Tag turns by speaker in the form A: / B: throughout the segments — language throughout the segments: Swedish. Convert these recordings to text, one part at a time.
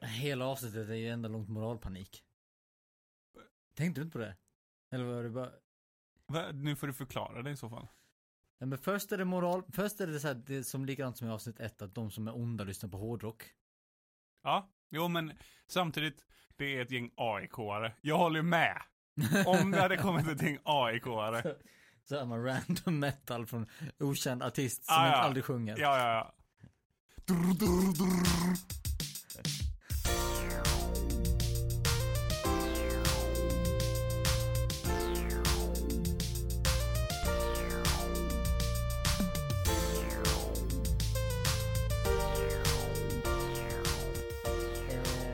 A: hela avsnittet är ju ändå långt moralpanik. Tänkte du inte på det? Eller var det bara...
B: Va? Nu får du förklara det i så fall.
A: Ja, men först är det moral, först är det så här, det är som likadant som i avsnitt ett, att de som är onda lyssnar på hårdrock.
B: Ja, jo men samtidigt, det är ett gäng AIK-are. Jag håller med. Om det hade kommit ett gäng AIK-are.
A: Så här med random metal från okänd artist som
B: Ah,
A: inte
B: ja.
A: aldrig sjunger.
B: Ja, ja, ja. Drr, drr, drr.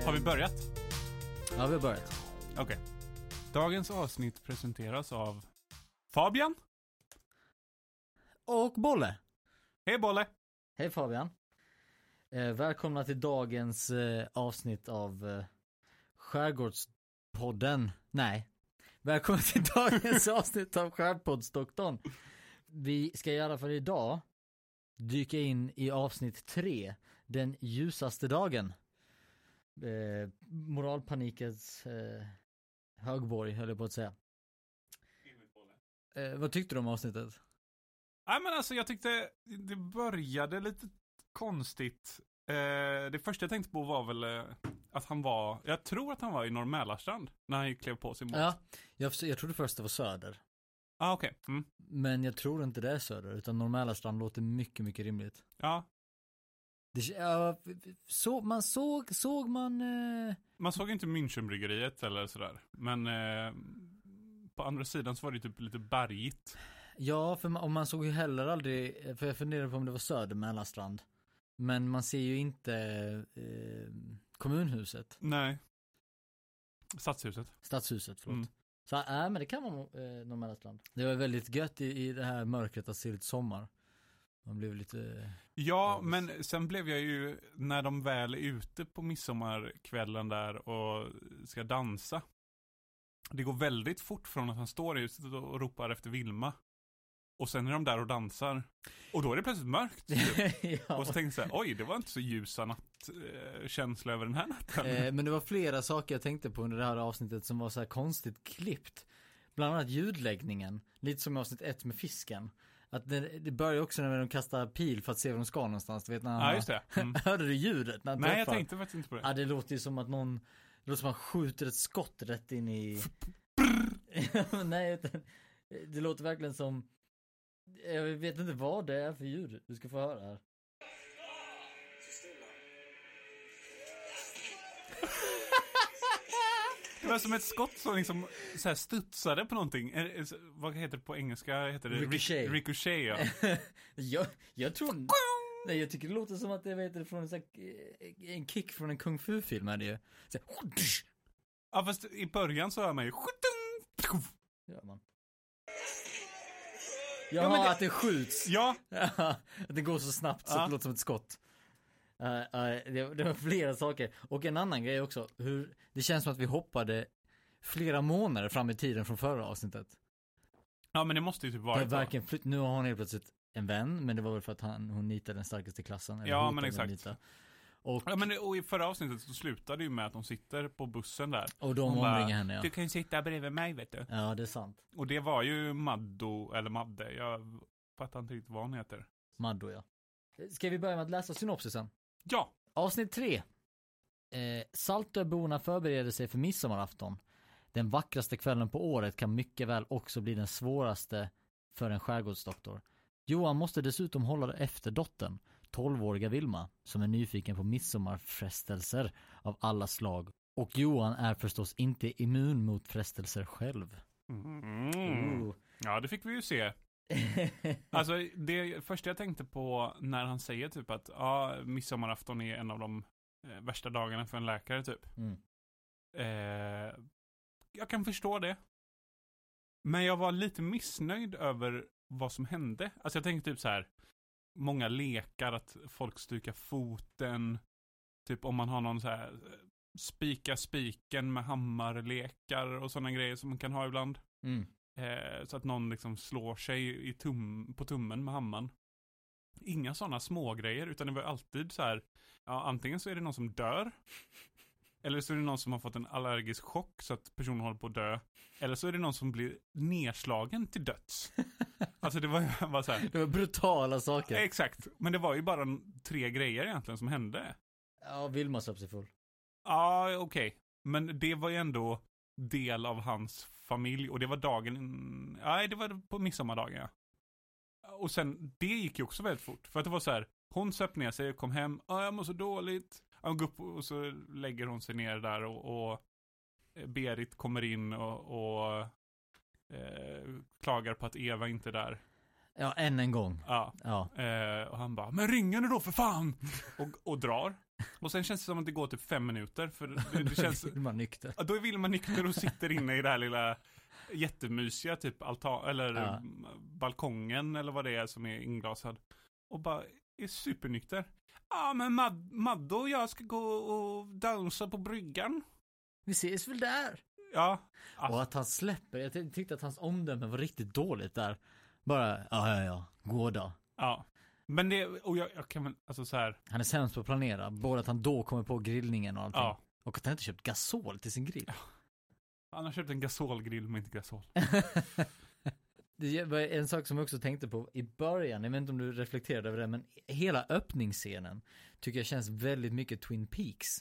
B: Har vi börjat?
A: Ja, vi har börjat.
B: Okej. Dagens avsnitt presenteras av Fabian.
A: Och Bolle.
B: Hej Bolle!
A: Hej Fabian. Eh, välkomna till dagens eh, avsnitt av eh, Skärgårdspodden. Nej. Välkomna till dagens avsnitt av Skärgårdsdoktorn. Vi ska i alla fall idag dyka in i avsnitt tre, den ljusaste dagen. Eh, moralpanikens eh, högborg, höll jag på att säga. Eh, vad tyckte du om avsnittet?
B: Nej men alltså jag tyckte det började lite konstigt. Eh, det första jag tänkte på var väl eh, att han var, jag tror att han var i Norr Mälarstrand när han klev på sin båt.
A: Ja, jag, jag trodde först det var söder.
B: ah, okej. Mm.
A: Men jag tror inte det är söder, utan normala strand låter mycket, mycket rimligt.
B: Ja.
A: Det, ja, så, man såg, såg man, eh,
B: Man såg inte Münchenbryggeriet eller sådär. Men eh, på andra sidan så var det typ lite bergigt.
A: ja, för man, och man såg ju heller aldrig, eh, för jag funderade på om det var söder Mälarstrand. Men man ser ju inte eh, kommunhuset,
B: Nej. Stadshuset.
A: stadshuset, förlåt.
B: Mm.
A: Så, nej men det kan vara eh, någon Mälarstrand. Det var väldigt gött i, i det här mörkret att se lite sommar. Man blev lite,
B: Ja,
A: Ja,
B: men sen blev jag ju, när de väl är ute på midsommarkvällen där och ska dansa. Det går väldigt fort från att han står i huset och ropar efter Vilma. Och sen är de där och dansar. Och då är det plötsligt mörkt. typ.
A: ja.
B: Och så tänkte jag så här, oj, det var inte så ljusa nattkänsla över den här natten.
A: Eh, men det var flera saker jag tänkte på under det här avsnittet som var så här konstigt klippt. Bland annat ljudläggningen, lite som i avsnitt ett med fisken. Att det, det börjar också när de kastar pil för att se var de ska någonstans. Du vet när han
B: ja, just det. Mm.
A: Hörde du ljudet? När han
B: Nej, jag
A: träffar?
B: tänkte faktiskt inte på det.
A: Ja, det låter ju som att någon, det låter som att han skjuter ett skott rätt in i... Nej, utan, det låter verkligen som, jag vet inte vad det är för ljud du ska få höra här.
B: Det var som ett skott som liksom så här studsade på någonting. Eh, eh, så- Vad heter det på engelska? Heter det?
A: Ricochet.
B: Ric- Ricochet, ja.
A: Jag, jag tror... Nej, jag tycker det låter som att det vet du, från en, sån här- eh, en kick från en kung fu-film är det ju. Så, här,
B: Ja fast i början så hör man ju
A: gör man.
B: Ja,
A: Jaha,
B: men det-
A: att det skjuts.
B: Ja,
A: att det går så snabbt så
B: Ja.
A: att det låter som ett skott. Eh, eh, det, det var flera saker. Och en annan grej också. Hur, det känns som att vi hoppade flera månader fram i tiden från förra avsnittet.
B: ja men det måste ju typ
A: Det
B: vara
A: har verkligen flytt, nu har hon helt plötsligt en vän, men det var väl för att han, hon nitade den starkaste i klassen. eller
B: Ja,
A: hotade
B: men
A: med
B: exakt.
A: att nita. Och,
B: Ja men det- och i förra avsnittet så slutade ju med att de sitter på bussen där.
A: och de
B: Hon bara,
A: omringar henne ja.
B: Du kan ju sitta bredvid mig vet du.
A: Ja, det är sant.
B: Och det var ju Maddo, eller Madde, jag fattar inte riktigt vad hon heter.
A: Maddo ja. Ska vi börja med att läsa synopsisen?
B: Ja,
A: Avsnitt 3. Eh, Saltöborna förbereder sig för midsommarafton. Den vackraste kvällen på året kan mycket väl också bli den svåraste för en skärgårdsdoktor. Johan måste dessutom hålla efter dottern, 12-åriga Vilma, som är nyfiken på midsommarfrestelser av alla slag. Och Johan är förstås inte immun mot frestelser själv.
B: mm.
A: Ooh.
B: ja det fick vi ju se. Alltså det första jag tänkte på när han säger typ att ja, midsommarafton är en av de eh, värsta dagarna för en läkare typ.
A: Mm.
B: Eh, jag kan förstå det. Men jag var lite missnöjd över vad som hände. Alltså jag tänkte typ så här. Många lekar, att folk stukar foten. Typ om man har någon så här eh, spika spiken med hammarlekar och sådana grejer som man kan ha ibland.
A: Mm.
B: Eh, så att någon liksom slår sig i tum, på tummen med hammaren. Inga sådana små grejer utan det var alltid så här. Ja, antingen så är det någon som dör. Eller så är det någon som har fått en allergisk chock så att personen håller på att dö. Eller så är det någon som blir nedslagen till döds. Alltså det var ju bara så här.
A: Det var brutala saker.
B: Exakt. Men det var ju bara en- tre grejer egentligen som hände.
A: Ja, Vilma söp sig full.
B: Ja, okej. Men det var ju ändå del av hans familj och det var dagen, nej det var på midsommardagen ja. Och sen, det gick ju också väldigt fort. För att det var så här, hon söp ner sig och kom hem, ja jag mår så dåligt. Ja, Hon går upp och så lägger hon sig ner där och, och Berit kommer in och, och eh, klagar på att Eva inte är där.
A: Ja, än en gång.
B: Ja.
A: Ja.
B: Eh, och han bara, men ring henne då för fan! Och, och drar. Och sen känns det som att det går typ fem minuter, för det, det känns...
A: Vilma nykter.
B: Ja, Då är Vilma nykter och sitter inne i det här lilla jättemysiga typ altan, eller
A: Ja.
B: m, balkongen eller vad det är som är inglasad. Och bara är supernykter. Ja ah, men Mad- Maddo och jag ska gå och dansa på bryggan.
A: Vi ses väl där?
B: Ja, Alltså-
A: Och att han släpper, jag ty- tyckte att hans omdöme var riktigt dåligt där. Bara, ja ja ja, gå då.
B: ja. Men det, och jag, jag kan väl, alltså så här,
A: Han är sämst på att planera, både att han då kommer på grillningen och allting.
B: ja.
A: Och att han inte köpt gasol till sin grill.
B: Han har köpt en gasolgrill men inte gasol.
A: Det var en sak som jag också tänkte på i början, jag vet inte om du reflekterade över det, men hela öppningsscenen tycker jag känns väldigt mycket Twin Peaks.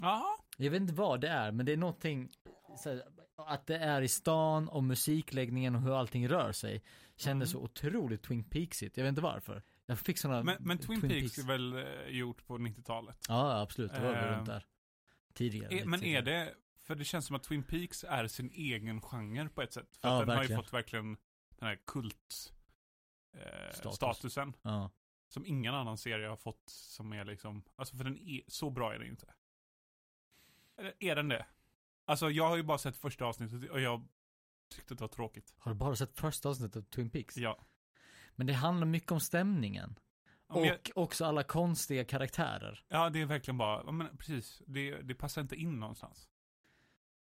B: Ja,
A: Jag vet inte vad det är, men det är någonting, så här, att det är i stan och musikläggningen och hur allting rör sig, kändes
B: Mm.
A: så otroligt Twin Peaksigt. Jag vet inte varför. Jag fick sådana
B: men, men Twin, Peaks är väl eh, gjort på 90-talet?
A: Ja, absolut. Det var väl
B: Eh,
A: runt där. Tidigare.
B: Är,
A: lite
B: men är
A: tidigare.
B: det, för det känns som att Twin Peaks är sin egen genre på ett sätt. För
A: Ja,
B: att den har
A: verkligen.
B: ju fått verkligen den här kult eh,
A: Status.
B: statusen
A: Ja.
B: som ingen annan serie har fått som är liksom, alltså för den är, så bra är den ju inte. Eller är den det? Alltså jag har ju bara sett första avsnittet och jag tyckte det var tråkigt.
A: Har du bara sett första avsnittet av Twin Peaks?
B: Ja.
A: Men det handlar mycket om stämningen.
B: Ja, men jag,
A: Och också alla konstiga karaktärer.
B: ja, det är verkligen bara, ja, men precis, det, det passar inte in någonstans.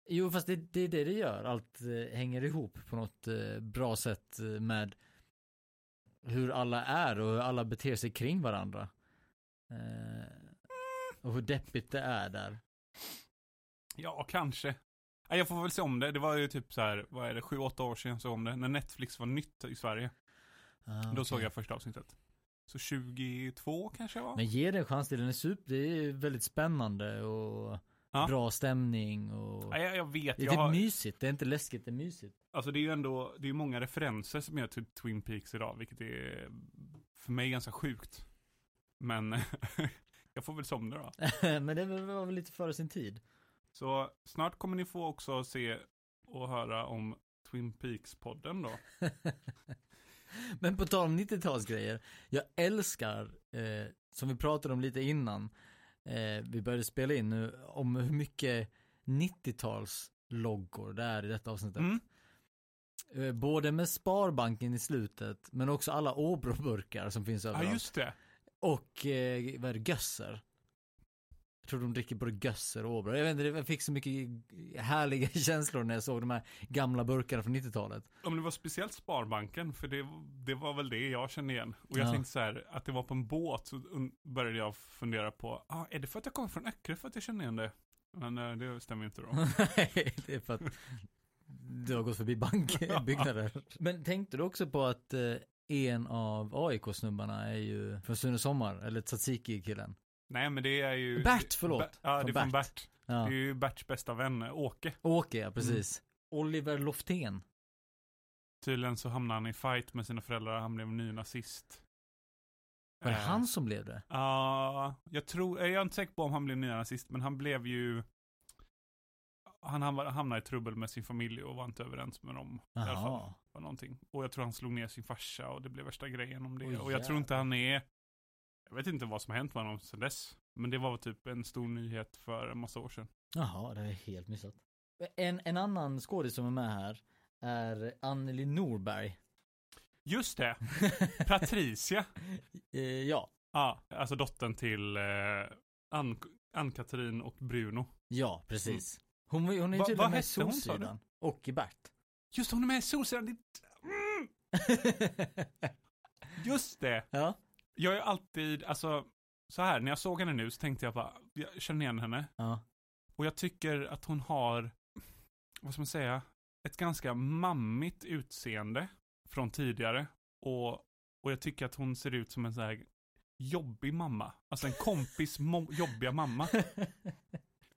A: Jo, fast det, det är det det gör. Allt eh, hänger ihop på något eh, bra sätt eh, med hur alla är och hur alla beter sig kring varandra. Eh, och hur deppigt det är där.
B: Ja, kanske. Ja, Jag får väl se om det. Det var ju typ så här, vad är det, sju, åtta år sedan jag såg om det. När Netflix var nytt i Sverige.
A: Ah,
B: Då
A: okej.
B: såg jag första avsnittet. Så 22 kanske jag var?
A: Men ge den en chans till, den är super, det är väldigt spännande och
B: Ja.
A: bra stämning och...
B: Nej, jag, jag vet.
A: Det är
B: Jag
A: typ
B: har,
A: mysigt, det är inte läskigt, det är mysigt.
B: alltså det är ju ändå, det är ju många referenser som gör till Twin Peaks idag, vilket är för mig ganska sjukt. Men jag får väl somna då.
A: Men det var väl lite före sin tid.
B: Så snart kommer ni få också se och höra om Twin Peaks-podden då.
A: Men på tal om 90-talsgrejer, jag älskar, eh, som vi pratade om lite innan, eh, vi började spela in nu, om hur mycket 90-talsloggor det är i detta avsnittet.
B: Mm.
A: Eh, både med Sparbanken i slutet, men också alla Åbroburkar som finns
B: Ja,
A: överallt.
B: just det.
A: Och, eh, vad är det, gösser? Jag tror de dricker både gösser och Åbro. Jag vet inte, jag fick så mycket härliga känslor när jag såg de här gamla burkarna från 90-talet.
B: Om det var speciellt Sparbanken, för det, det var väl det jag kände igen. Och jag
A: Ja.
B: tänkte så här, att det var på en båt, så un- började jag fundera på, ah, är det för att jag kommer från Öckerö för att jag känner igen det? Men eh, det stämmer ju inte då.
A: Nej, det är för att du har gått förbi bankbyggnader. Men tänkte du också på att eh, en av AIK-snubbarna är ju från Sune Sommar, eller Tsatsiki-killen.
B: Nej, men det är ju...
A: Bert, förlåt.
B: Ber- ja, det är
A: Från
B: från
A: Bert.
B: Bert.
A: Ja.
B: Det är ju Berts bästa vän, eh, Åke.
A: Åke, ja precis. Oliver Loftén.
B: Tydligen så hamnade han i fight med sina föräldrar, han blev ny nazist.
A: Var det
B: Eh,
A: han som blev det?
B: Ja, jag tror, eh, jag är inte säker på om han blev ny nazist, men han blev ju... Han hamnade hamnade i trubbel med sin familj och var inte överens med dem. i alla fall.
A: Jaha.
B: var någonting. Och jag tror han slog ner sin farsa och det blev värsta grejen om det.
A: Oj,
B: och jag tror inte han är... Jag vet inte vad som har hänt med honom sedan dess. Men det var typ en stor nyhet för en massa år sedan.
A: Jaha, det har jag helt missat. En, en annan skådis som är med här är Anneli Norberg.
B: Just det! Patricia!
A: Eh, ja,
B: Ja, alltså dottern till eh, Ann- Ann-Katrin och Bruno.
A: ja precis. Hon, var- hon är ju
B: Mm. Va-
A: tydligen
B: vad
A: med i
B: hette hon, sa du?
A: Solsidan. Och i Bert.
B: Just hon är med i Solsidan! det- Mm, just det!
A: ja,
B: Jag är alltid, alltså, så här, när jag såg henne nu så tänkte jag bara, jag känner igen henne.
A: ja.
B: Och jag tycker att hon har, vad ska man säga, ett ganska mammigt utseende från tidigare. Och, och jag tycker att hon ser ut som en så här jobbig mamma. Alltså en kompis mo- jobbiga mamma.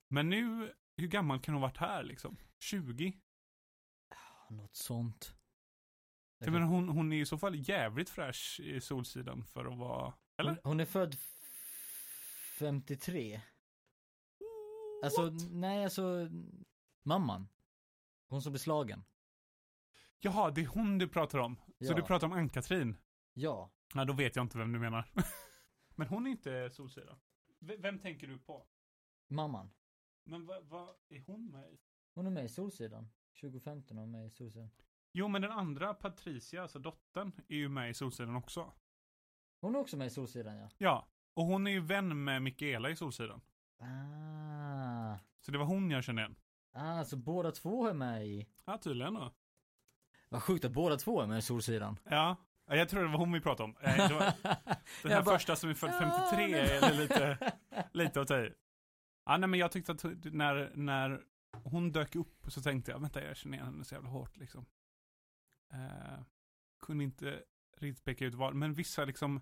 B: Men nu, hur gammal kan hon varit här liksom? 20?
A: Något sånt.
B: Jag menar, hon, hon är i så fall jävligt fräsch i Solsidan för att vara, eller?
A: Hon, hon är född f- 53. Alltså,
B: What?
A: nej alltså, mamman. Hon som blev slagen.
B: Jaha, det är hon du pratar om. Så
A: Ja.
B: du pratar om Ann-Katrin?
A: Ja.
B: Ja, då vet jag inte vem du menar. Men hon är inte Solsidan. V- vem tänker du på?
A: Mamman.
B: Men vad va, är hon med i?
A: Hon är med i Solsidan. 2015 är hon med i Solsidan.
B: Jo, men den andra Patricia, alltså dottern, är ju med i Solsidan också.
A: Hon är också med i Solsidan ja.
B: Ja, och hon är ju vän med Mikaela i Solsidan.
A: Ah.
B: Så det var hon jag kände igen.
A: Ah, så båda två är med i...
B: Ja, tydligen då.
A: Vad sjukt att båda två är med i Solsidan.
B: Ja, Ja, jag tror det var hon vi pratade om. Eh, det var, den här
A: Jag bara,
B: första som är född
A: "Ja,
B: 53
A: men-
B: är lite, lite att ta i. Ja, nej, men jag tyckte att hon- när, när hon dök upp så tänkte jag, vänta, jag känner igen henne så jävla hårt liksom. Eh, kunde inte riktigt peka ut vad, men vissa liksom,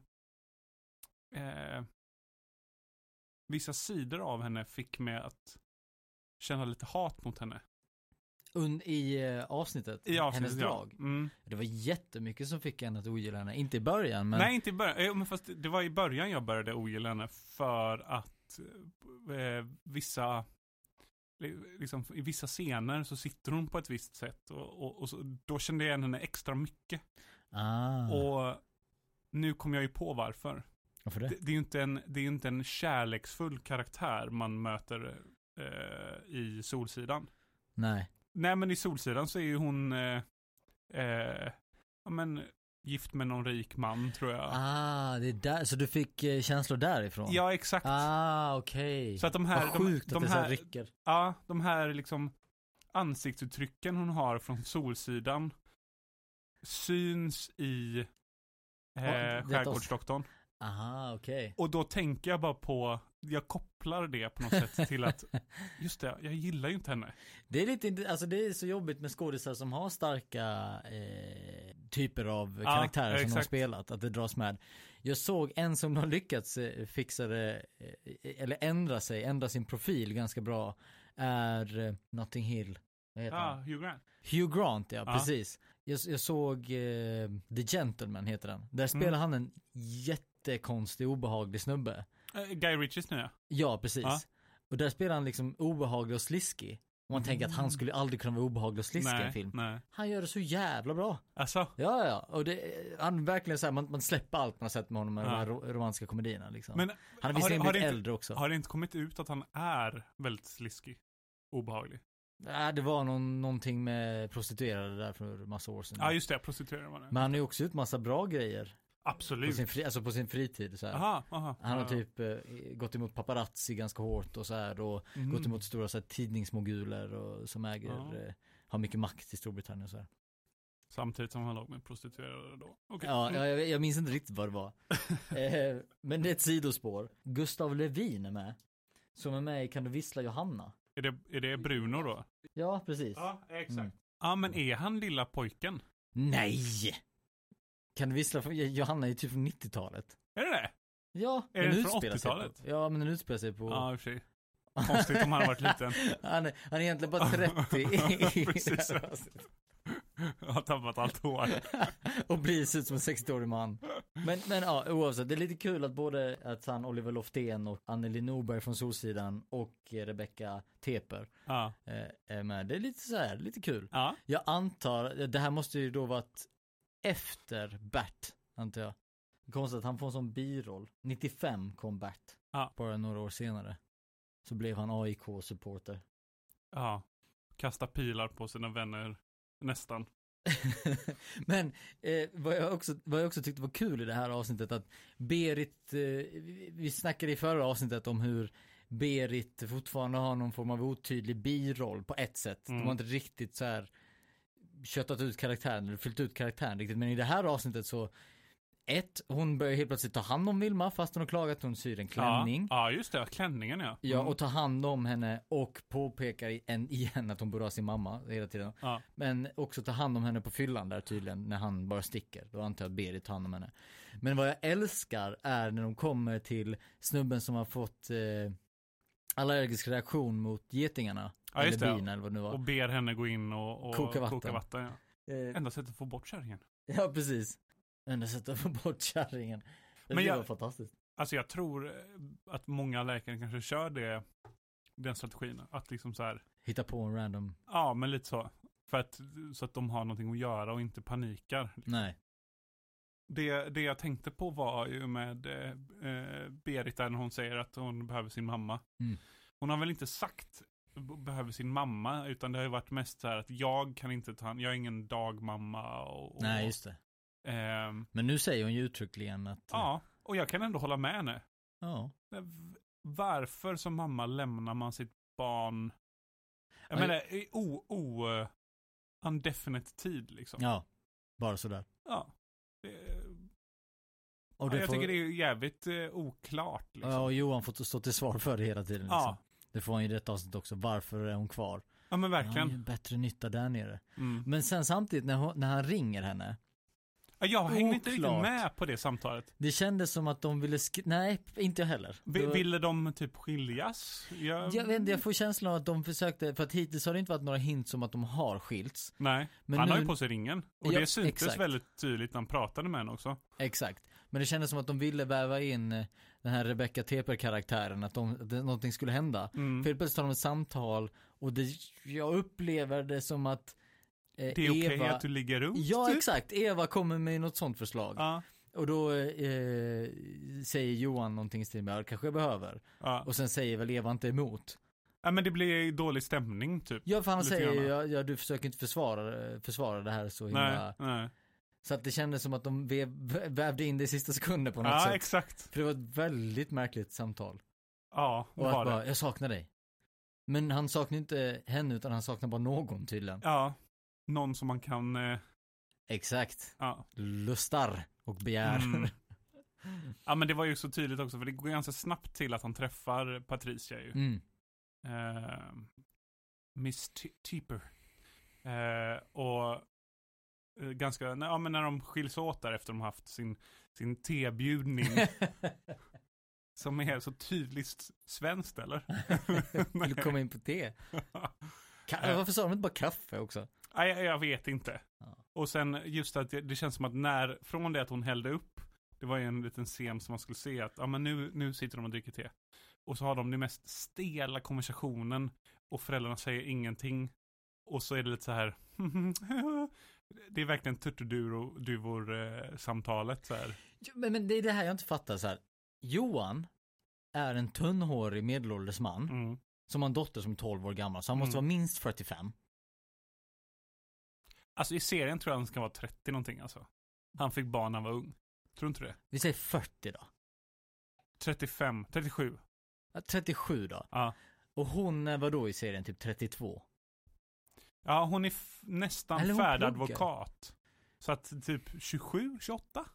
B: eh, vissa sidor av henne fick mig att känna lite hat mot henne.
A: Und, I eh, avsnittet,
B: I avsnittet,
A: hennes
B: ja.
A: drag.
B: Mm.
A: Det var jättemycket som fick henne att ogilla henne. Inte i början men...
B: Nej, inte i början. Eh, Men fast det var i början jag började ogilla henne för att eh, vissa, li- liksom, i vissa scener så sitter hon på ett visst sätt och, och, och så, då kände jag igen henne extra mycket.
A: Ah.
B: Och nu kom jag ju på varför.
A: Varför det?
B: Det, det är ju inte en, det är ju inte en kärleksfull karaktär man möter eh, i Solsidan.
A: Nej.
B: Nej, men i Solsidan så är ju hon, eh, eh, ja men, gift med någon rik man tror jag.
A: Ah, det är där, så du fick eh, känslor därifrån?
B: Ja, exakt.
A: Ah, okej.
B: Så att de här,
A: Vad sjukt
B: de,
A: att
B: de
A: det så här
B: här,
A: rycker.
B: ja, de här liksom ansiktsuttrycken hon har från Solsidan syns i
A: det är
B: eh,
A: ett
B: Skärgårdsdoktorn.
A: Aha, okej.
B: Och då tänker jag bara på, jag kopplar det på något sätt till att, just det, jag gillar ju inte henne.
A: Det är lite, inte- alltså det är så jobbigt med skådisar som har starka eh, typer av
B: Ja,
A: karaktärer som de har
B: exakt.
A: spelat, att det dras med. Jag såg en som har lyckats eh, fixa det, eh, eller ändra sig, ändra sin profil ganska bra, är eh, Notting Hill. Vad heter
B: Ja,
A: han?
B: Hugh Grant.
A: Hugh Grant ja,
B: Ja.
A: precis. Jag, jag såg eh, The Gentleman heter den. Där spelar
B: Mm.
A: han en jättekonstig, obehaglig snubbe.
B: Eh, Guy Ritchies nya.
A: Ja, precis.
B: Ja.
A: Och där spelar han liksom obehaglig och sliskig. Och man tänker att han skulle aldrig kunna vara obehaglig och sliskig i en
B: Mm. Nej,
A: film.
B: nej.
A: Han gör det så jävla bra.
B: Alltså,
A: Ja, ja. Och det, han verkligen så här, man, man släpper allt man har sett med honom med
B: Ja.
A: de här ro- romantiska komedierna liksom.
B: men
A: han har
B: har det-
A: visserligen
B: har
A: blivit
B: det inte-
A: äldre också.
B: har det inte kommit ut att han är väldigt sliskig? Obehaglig.
A: Nej, det var någon, någonting med prostituerade där för massa år sedan.
B: Ja, just det, prostituerad var det.
A: Men han har ju också ut massa bra grejer. På
B: Absolut.
A: sin, fri, alltså på sin fritid så här.
B: Aha, aha.
A: Han har
B: Ja.
A: typ eh, gått emot paparazzi ganska hårt och så här och
B: Mm.
A: gått emot stora så här, tidningsmoguler och, som äger,
B: Ja.
A: eh, har mycket makt i Storbritannien och så här.
B: Samtidigt som han låg med prostituerade då. Okej.
A: Ja,
B: Mm.
A: jag, jag- jag minns inte riktigt vad det var. eh, men det är ett sidospår. Gustav Levin är med. Som är med i Kan du vissla Johanna?
B: Är, det, är det Bruno då?
A: Ja, precis.
B: exakt.
A: Mm.
B: Ja, men är han lilla pojken?
A: Nej! Kan du vissla? Johanna är ju typ från 90-talet.
B: Är det det?
A: Ja,
B: Är den från
A: utspelar sig
B: 80-talet?
A: På, ja, men den utspelar sig på...
B: Ja, i och för sig. Konstigt om han hade varit liten.
A: han, är, han är egentligen bara 30 i-
B: Precis. Jag har tappat allt hår.
A: och blir ser ut som en 60-årig man. Men, men ja, oavsett, det är lite kul att både att han Oliver Loftén och Anneli Norberg från Solsidan och eh, Rebecca Teper
B: Ja.
A: eh, är med. Det är lite så här, lite kul.
B: ja.
A: Jag antar, det här måste ju då varit efter Bert, antar jag. Konstigt att han får en sån biroll. 95 kom Bert.
B: Ja.
A: Bara några år senare. Så blev han AIK-supporter.
B: ja. Kasta pilar på sina vänner. Nästan.
A: Men eh, vad, jag också, vad jag också tyckte var kul i det här avsnittet att Berit, eh, vi- vi snackade i förra avsnittet om hur Berit fortfarande har någon form av otydlig biroll på ett sätt. De
B: Mm.
A: har inte riktigt så här köttat ut karaktären eller fyllt ut karaktären riktigt. Men i det här avsnittet så Ett, hon börjar helt plötsligt ta hand om Vilma fast hon har klagat att hon syr en klänning.
B: Ja, ja just det. Klänningen ja.
A: Ja, och tar hand om henne och påpekar i- en- igen att hon borde ha sin mamma hela tiden.
B: Ja.
A: Men också tar hand om henne på fyllan där tydligen när han bara sticker. Då antar jag att Berit tar hand om henne. Men vad jag älskar är när de kommer till snubben som har fått eh, allergisk reaktion mot getingarna.
B: Mm. Ja, just
A: eller
B: det.
A: bin eller vad det nu var.
B: Och ber henne gå in och, och
A: Koka vatten.
B: vatten, ja.
A: Eh,
B: Enda sättet att få bort kärringen.
A: ja, precis. Enda sättet att få bort kärringen. Det
B: Men jag-
A: var fantastiskt.
B: Alltså jag tror eh, att många läkare kanske kör det, den strategin. Att liksom så här,
A: Hitta på en random.
B: ja men lite så. För att, så att de har någonting att göra och inte panikar.
A: Nej.
B: Det, det jag tänkte på var ju med eh, eh, Berit där när hon säger att hon behöver sin mamma.
A: Mm.
B: Hon har väl inte sagt b- behöver sin mamma, utan det har ju varit mest så här att jag kan inte ta hand, jag är ingen dagmamma och... och
A: Nej, just det. Typ.
B: ehm,
A: Men nu säger hon ju uttryckligen att...
B: ja, och jag kan ändå hålla med henne.
A: ja.
B: Men Varför som mamma lämnar man sitt barn? Jag
A: Ja,
B: menar, i o, o, eh, undefinite tid liksom. Ja.
A: Ja, bara sådär.
B: Det-
A: Och
B: ja, jag tycker det är ju jävligt eh, oklart liksom.
A: Ja, och Johan får stå till svar för det hela tiden.
B: Ja.
A: Liksom. Det får han ju i detta avsnitt också. Varför är hon kvar?
B: Ja men
A: Han
B: verkligen.
A: ju bättre nytta där nere.
B: Mm.
A: Men sen samtidigt när, hon, när han ringer henne.
B: Ja, Jag hängde inte riktigt
A: Oklart.
B: med på det samtalet.
A: Det kändes som att de ville skri- Nej, inte jag heller.
B: Vi,
A: Det var-
B: ville de typ skiljas? Jag...
A: Jag vet inte, jag får känslan av att de försökte, för att hittills har det inte varit några hints om att de har skilts.
B: Nej,
A: Men
B: han har
A: nu-
B: ju på sig ringen. Och
A: Ja,
B: det syntes
A: exakt.
B: väldigt tydligt när han pratade med henne också.
A: Exakt. Men det kändes som att de ville väva in eh, den här Rebecca Teper-karaktären, att, de, att det- någonting skulle hända.
B: Mm.
A: För helt plötsligt har de ett samtal och det, jag upplever det som att eh,
B: Det är okej
A: Eva...
B: att du ligger runt.
A: Ja,
B: typ.
A: exakt. Eva kommer med något sånt förslag.
B: Ja,
A: Och då eh, säger Johan någonting i stil med, "Ja, det kanske jag behöver.
B: ja.
A: Och sen säger väl Eva inte emot.
B: ja, men det blir dålig stämning typ.
A: Ja, för han
B: Lite
A: säger ju,
B: grann.
A: ja, ja, du försöker inte försvara, försvara det här så himla.
B: Nej, nej.
A: Så att det kändes som att de vev, vävde in det i sista sekunden på något
B: Ja,
A: sätt.
B: exakt.
A: För det var ett väldigt märkligt samtal.
B: Ja, det
A: Och att
B: var
A: bara,
B: det.
A: jag saknar dig. Men han saknar inte henne utan han saknar bara någon tydligen.
B: Ja, någon som man kan, eh,
A: Exakt.
B: ja.
A: Lustar och begär.
B: Mm. Ja men det var ju så tydligt också för det går ganska snabbt till att han träffar Patricia ju.
A: Mm.
B: eh, Miss T- Teeper. Eh, och eh, ganska, nej, ja, men när de skiljs åt där efter de har haft sin, sin tebjudning som är så tydligt s- svenskt eller?
A: Vill du komma in på te? Ka-
B: Eh.
A: varför sa de inte bara kaffe också?
B: nej, jag, jag vet inte.
A: Ja.
B: Och sen just att det, det känns som att när, från det att hon hällde upp, det var ju en liten scen som man skulle se att, ja men nu, nu sitter de och dricker te. Och så har de den mest stela konversationen och föräldrarna säger ingenting. Och så är det lite så här, det är verkligen turturduvor-samtalet så här.
A: Jo, Men, men det är det här jag inte fattar så här. Johan är en tunnhårig medelålders man
B: Mm.
A: som har en dotter som är 12 år gammal så han måste
B: Mm.
A: vara minst 45.
B: Alltså i serien tror jag han ska vara 30 någonting alltså. Han fick barn när han var ung. Tror du inte det?
A: Vi säger 40 då.
B: 35, 37.
A: Ja, 37 då.
B: Ja,
A: Och hon är vadå i serien? Typ 32?
B: ja hon är f- nästan
A: Eller hon
B: färdig
A: pluggar.
B: advokat. Så att typ 27, 28?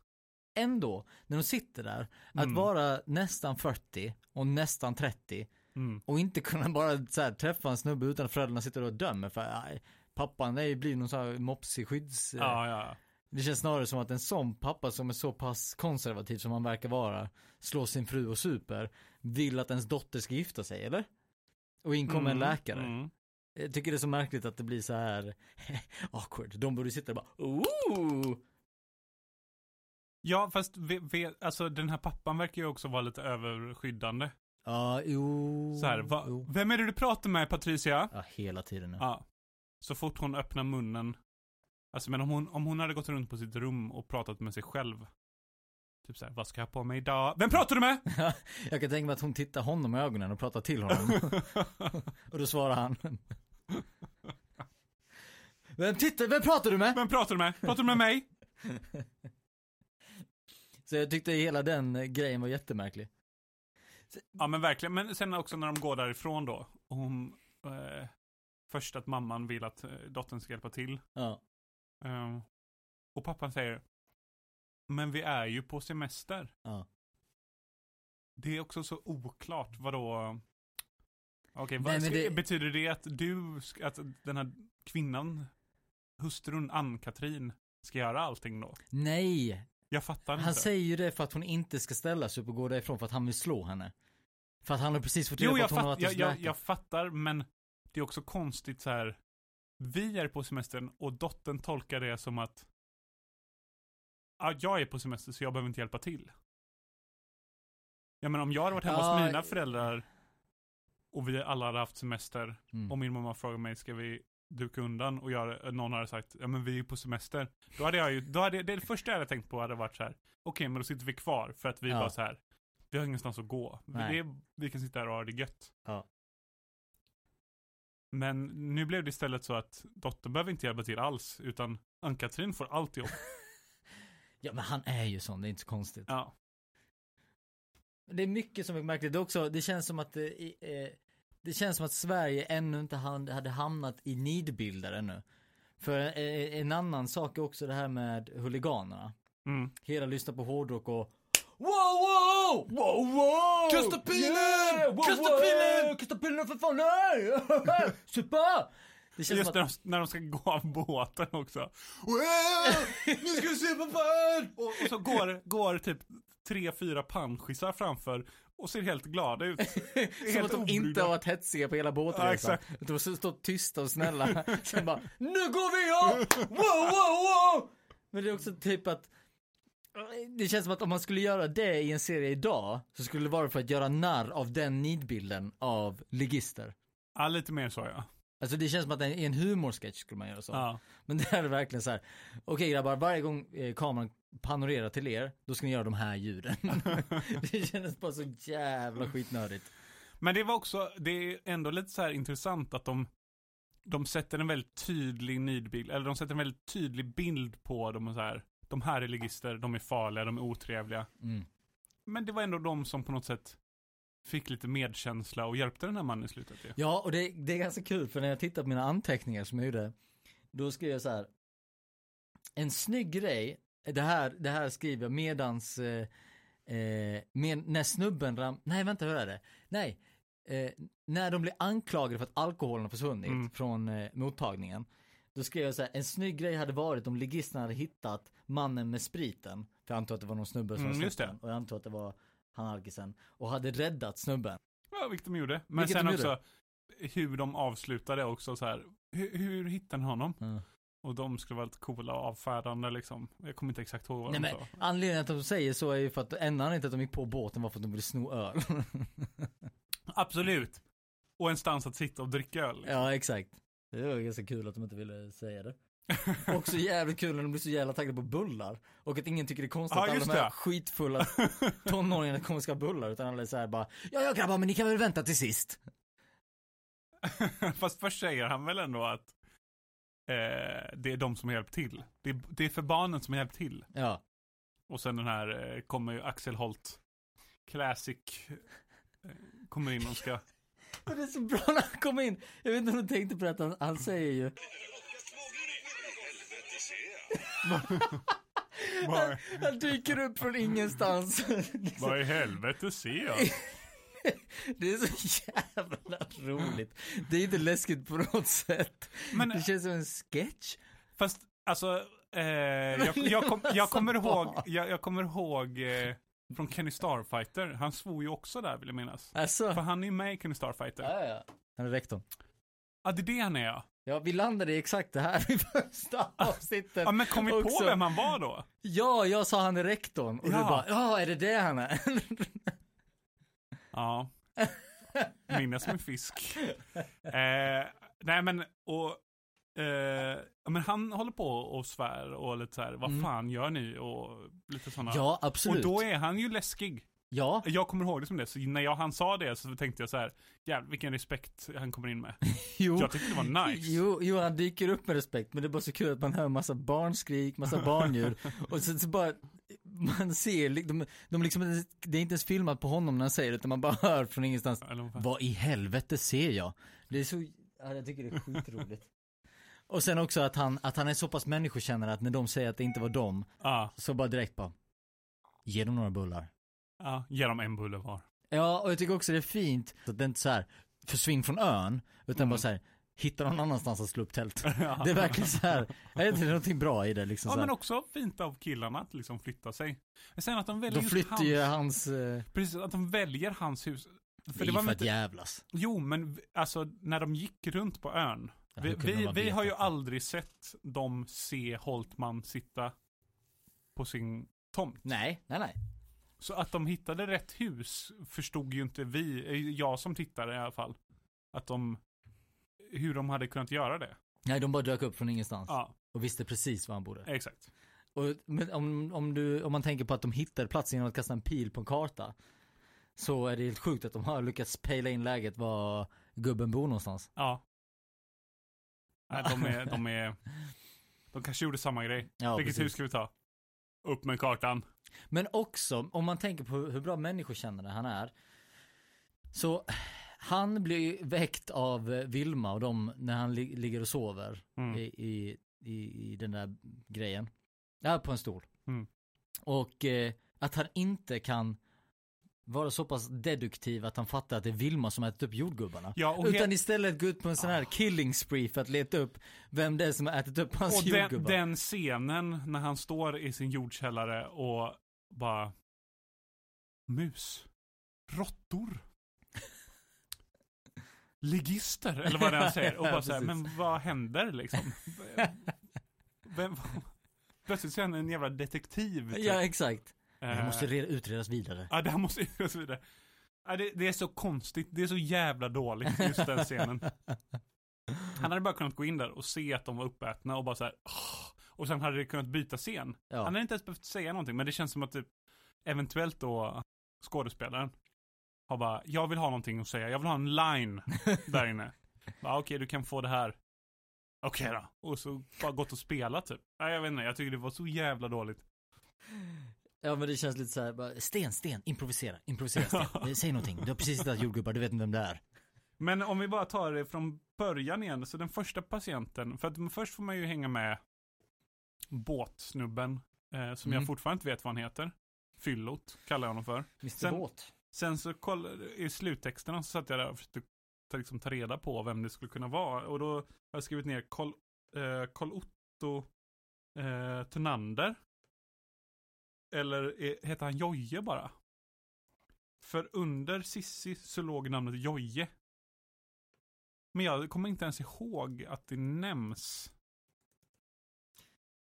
A: Ändå, när de sitter där,
B: Mm.
A: att vara nästan 40 och nästan 30
B: Mm.
A: och inte kunna bara så här, träffa en snubbe utan att föräldrarna sitter och dömer för aj, pappan är ju blir någon sån här mopsig skydds...
B: Ja, ja, ja.
A: Det känns snarare som att en sån pappa som är så pass konservativ som han verkar vara, slår sin fru och super, vill att ens dotter ska gifta sig, eller? Och in kommer en
B: Mm,
A: läkare.
B: mm.
A: Jag tycker det är så märkligt att det blir så här awkward. De borde sitta och bara ooh!
B: Ja, fast vi, vi, alltså, den här pappan verkar ju också vara lite överskyddande.
A: Ja, jo.
B: Så här, va,
A: jo.
B: vem är det du pratar med Patricia?
A: Ja, hela tiden nu.
B: Ja. Så fort hon öppnar munnen. Alltså men om hon, om hon hade gått runt på sitt rum och pratat med sig själv. Typ så här, vad ska jag ha på mig idag? Vem pratar du med?
A: Jag kan tänka mig att hon tittar honom i ögonen och pratar till honom. och då svarar han. Vem tittar, vem pratar du med?
B: Vem pratar du med? Pratar du med mig?
A: Så jag tyckte hela den eh, grejen var jättemärklig.
B: Ja men verkligen, men sen också när de går därifrån då. Och hon, eh, först att mamman vill att eh, dottern ska hjälpa till.
A: Ja.
B: Eh, och pappan säger Men vi är ju på semester.
A: Ja.
B: Det är också så oklart, vadå? Okej,
A: Nej,
B: vad,
A: men
B: ska-
A: det-
B: betyder det att du, ska- att den här kvinnan, hustrun Ann-Katrin, ska göra allting då?
A: Nej,
B: Jag fattar
A: han
B: inte.
A: säger ju det för att hon inte ska ställa sig upp och gå därifrån för att han vill slå henne. För att han har precis fått reda
B: Jo,
A: på
B: jag,
A: att hon har varit
B: fatt, jag,
A: hos
B: jag,
A: läkaren.
B: jag fattar, men det är också konstigt så här. Vi är på semestern och dottern tolkar det som att ja, jag är på semester så jag behöver inte hjälpa till. Ja, men om jag hade varit hemma
A: Ja,
B: hos mina
A: eh.
B: föräldrar och vi alla hade haft semester
A: Mm.
B: och min mamma frågade mig, ska vi duka undan? Och jag, någon hade sagt, ja men vi är på semester. Då hade jag ju, då hade, det första jag hade tänkt på hade varit så här, okej men då sitter vi kvar för att vi
A: Ja.
B: bara så här, vi har ingenstans att gå. Vi,
A: Nej.
B: det, är- vi kan sitta här och ha det gött.
A: Ja.
B: Men nu blev det istället så att dottern behöver inte hjälpa till alls, utan Ann-Katrin får allt jobb.
A: Ja men han är ju sån, det är inte så konstigt.
B: Ja.
A: Det är mycket som är märkligt Det är också. Det känns som att eh, i- eh, det känns som att Sverige ännu inte han- hade hamnat i nidbilder ännu. För eh, en annan sak är också det här med huliganerna.
B: Mm.
A: Hela lyssnar på hårdrock och Wow wow! Wow wow!
B: Kasta pilen! Kasta pilen!
A: Kasta pilen för fan! Nej! Supa! Det känns
B: Just
A: som
B: när
A: att,
B: de, när de ska gå av båten också. Wow! Nu ska vi se på fan! Och, och så går, går typ tre, fyra panschisar framför och ser helt glada ut.
A: som att
B: helt
A: de inte
B: obrydda.
A: har varit hetsiga på hela
B: Ja,
A: båtresan.
B: exakt.
A: de har stått tysta och snälla. Sen bara, nu går vi av! Wow, wow, wow! Men det är också typ att, det känns som att om man skulle göra det i en serie idag, så skulle det vara för att göra narr av den nidbilden av ligister.
B: Ja, lite mer så ja.
A: Alltså det känns som att i en humorsketch skulle man göra så.
B: ja.
A: Men det här är verkligen så här. okej grabbar, varje gång eh, kameran panorerar till er, då ska ni göra de här ljuden. det kändes bara så jävla skitnödigt.
B: Men det var också, det är ändå lite så här intressant att de, de sätter en väldigt tydlig nidbild, eller de sätter en väldigt tydlig bild på de så här, de här är ligister, de är farliga, de är otrevliga.
A: Mm.
B: Men det var ändå de som på något sätt fick lite medkänsla och hjälpte den här mannen i slutet ju.
A: Ja, och det, det är ganska kul för när jag tittar på mina anteckningar som jag gjorde, då skrev jag så här. En snygg grej, det här, det här skriver jag medans, eh, eh, med, när snubben ram, nej vänta hur är det? Nej, eh, när de blir anklagade för att alkoholen har försvunnit
B: Mm.
A: från eh, mottagningen. Då skrev jag så här, en snygg grej hade varit om ligisterna hade hittat mannen med spriten. För jag antar att det var någon snubbe som
B: Mm,
A: hade
B: just
A: snott
B: det.
A: den, Och jag antar att det var han alkisen. Och hade räddat snubben.
B: Ja, vilket de gjorde. Men
A: Vilket
B: sen
A: de
B: också hur de avslutade också så här, hur, hur hittade ni honom?
A: Mm.
B: Och de skulle vara lite coola och avfärdande liksom. Jag kommer inte exakt ihåg vad
A: Nej,
B: de
A: men
B: sa.
A: anledningen till att de säger så är ju för att en anledning till att de gick på båten var för att de ville sno öl.
B: Absolut. Och en stans att sitta och dricka öl. liksom.
A: ja, exakt. Det var ganska kul att de inte ville säga det. Också jävligt kul när de blir så jävla taggade på bullar. Och att ingen tycker det är konstigt
B: Ja,
A: att alla
B: just
A: de här
B: det.
A: skitfulla tonåringarna kommer och ska ha bullar. Utan alla är såhär bara, ja ja grabbar men ni kan väl vänta till sist.
B: Fast först säger han väl ändå att eh, det är de som har hjälpt till. Det är, det är för barnen som har hjälpt till.
A: Ja,
B: Och sen den här eh, kommer ju Axel Holt Classic eh, kommer in och ska...
A: och det är så bra när han kom in. Jag vet inte om du tänkte på det, att han, han säger ju,
C: Helvete ser jag.
B: Vad i-
A: han dyker upp från ingenstans.
B: Vad i helvete ser jag?
A: Det är så jävla roligt. Det är inte läskigt på något sätt.
B: Men-
A: det känns som en sketch.
B: Fast alltså, eh, jag, jag, kom, jag kommer ihåg, jag, jag kommer ihåg eh, från Kenny Starfighter. Han svor ju också där vill jag minnas.
A: Alltså.
B: För han är ju med i Kenny Starfighter.
A: Ja, ja. Han är rektorn.
B: Ja, det är det han är ja.
A: Ja, vi landade i exakt det här i första avsnittet.
B: Ah, ja men kom vi på
A: också.
B: vem han var då?
A: Ja, jag sa han är rektorn. Och du
B: Ja.
A: bara, ja, är det det han är?
B: Ja. Minnas som en fisk. Eh, nej men, och... Eh, ja, men han håller på och svär och lite så här, vad
A: Mm.
B: fan gör ni? Och lite sådana.
A: ja, absolut.
B: Och då är han ju läskig.
A: Ja,
B: Jag kommer ihåg det som det, så när jag, han sa det så tänkte jag så här, jävlar vilken respekt han kommer in med.
A: jo.
B: Jag tyckte det var nice.
A: Jo, jo, han dyker upp med respekt, men det är bara så kul att man hör massa barnskrik, massa barnljud och så, så bara, man ser, li- de, de liksom, inte ens- det är inte ens filmat på honom när han säger det, utan man bara hör från ingenstans,
B: Eller vad fan.
A: vad i helvete ser jag? Det är så, ja, jag tycker det är skitroligt. Och sen också att han, att han är så pass människokännare att när de säger att det inte var dem,
B: Ja,
A: så bara direkt bara, ge dem några bullar.
B: ja, ge dem en bulle var.
A: Ja, och jag tycker också det är fint att det inte så här försvinn från ön, utan
B: Mm.
A: bara så här hitta någon annanstans att slå upp tält.
B: Ja.
A: Det är verkligen så här, jag vet inte, det är någonting bra i det liksom.
B: Ja,
A: så här.
B: men också fint av killarna att liksom flytta sig. Men sen att de väljer
A: De
B: just
A: flyttar
B: hans,
A: ju hans, eh,
B: Precis, att de väljer hans hus.
A: för
B: För det var
A: för att
B: väl inte,
A: jävlas.
B: jo, men v- alltså när de gick runt på ön.
A: Ja,
B: Vi,
A: hur kunde
B: vi,
A: man
B: vi
A: veta
B: har ju
A: det?
B: aldrig sett dem se Holtman sitta på sin tomt.
A: Nej, nej, nej.
B: Så att de hittade rätt hus förstod ju inte vi, eh, jag som tittare i alla fall. Att de, hur de hade kunnat göra det.
A: Nej, de bara dök upp från ingenstans
B: Ja,
A: och visste precis var han bodde.
B: exakt.
A: Och, men om, om, du, om man tänker på att de hittade platsen genom att kasta en pil på en karta. Så är det helt sjukt att de har lyckats pejla in läget var gubben bor någonstans.
B: Ja. Nej, de är, de är, de kanske gjorde samma grej.
A: Ja,
B: Vilket hus ska vi ta? Upp med kartan.
A: Men också, om man tänker på hur bra människokännare han är. Så han blir ju väckt av eh, Vilma och dem när han li- ligger och sover
B: Mm.
A: i, i, i, i den där grejen. Där på en stol.
B: Mm.
A: Och eh, att han inte kan vara så pass deduktiv att han fattar att det är Vilma som ätit upp jordgubbarna.
B: Ja, och,
A: Utan
B: he- Ah.
A: istället gå ut på en sån här killing spree för att leta upp vem det är som har ätit upp hans
B: och den,
A: jordgubbar.
B: den scenen när han står i sin jordkällare och bara mus, råttor, ligister eller vad det är han säger. Och bara så här,
A: Precis.
B: men vad händer liksom? Vem, plötsligt så är han en jävla detektiv. typ.
A: Ja, exakt. Det
B: Eh,
A: här måste re- utredas vidare.
B: Ja, det här måste och så vidare. Ja, det, det är så konstigt, det är så jävla dåligt just den scenen. Han hade bara kunnat gå in där och se att de var uppätna och bara så här. "Åh." Och sen hade det kunnat byta scen.
A: Ja.
B: Han hade inte ens behövt säga någonting, men det känns som att typ, eventuellt då skådespelaren har bara, jag vill ha någonting att säga, jag vill ha en line där inne. Bara, Okej, du kan få det här. Okej då. Och så bara gått och spelat typ. Nej, jag vet inte, jag tycker det var så jävla dåligt.
A: Ja men det känns lite så här, bara, sten, sten, improvisera, improvisera, sten. Eh, Säg någonting, du har precis hittat jordgubbar, du vet inte vem det är.
B: Men om vi bara tar det från början igen, så den första patienten, för att först får man ju hänga med båtsnubben, eh, som
A: Mm.
B: jag fortfarande inte vet vad han heter. Fyllot kallar jag honom för.
A: Mr
B: Sen-
A: Båt.
B: Sen så koll, i sluttexterna så satt jag där och försökte ta, liksom, ta reda på vem det skulle kunna vara. Och då har jag skrivit ner Karl eh, Karl Otto eh, Thunander. Eller eh, heter han Joje bara? För under Sissi så låg namnet Joje. Men jag kommer inte ens ihåg att det nämns.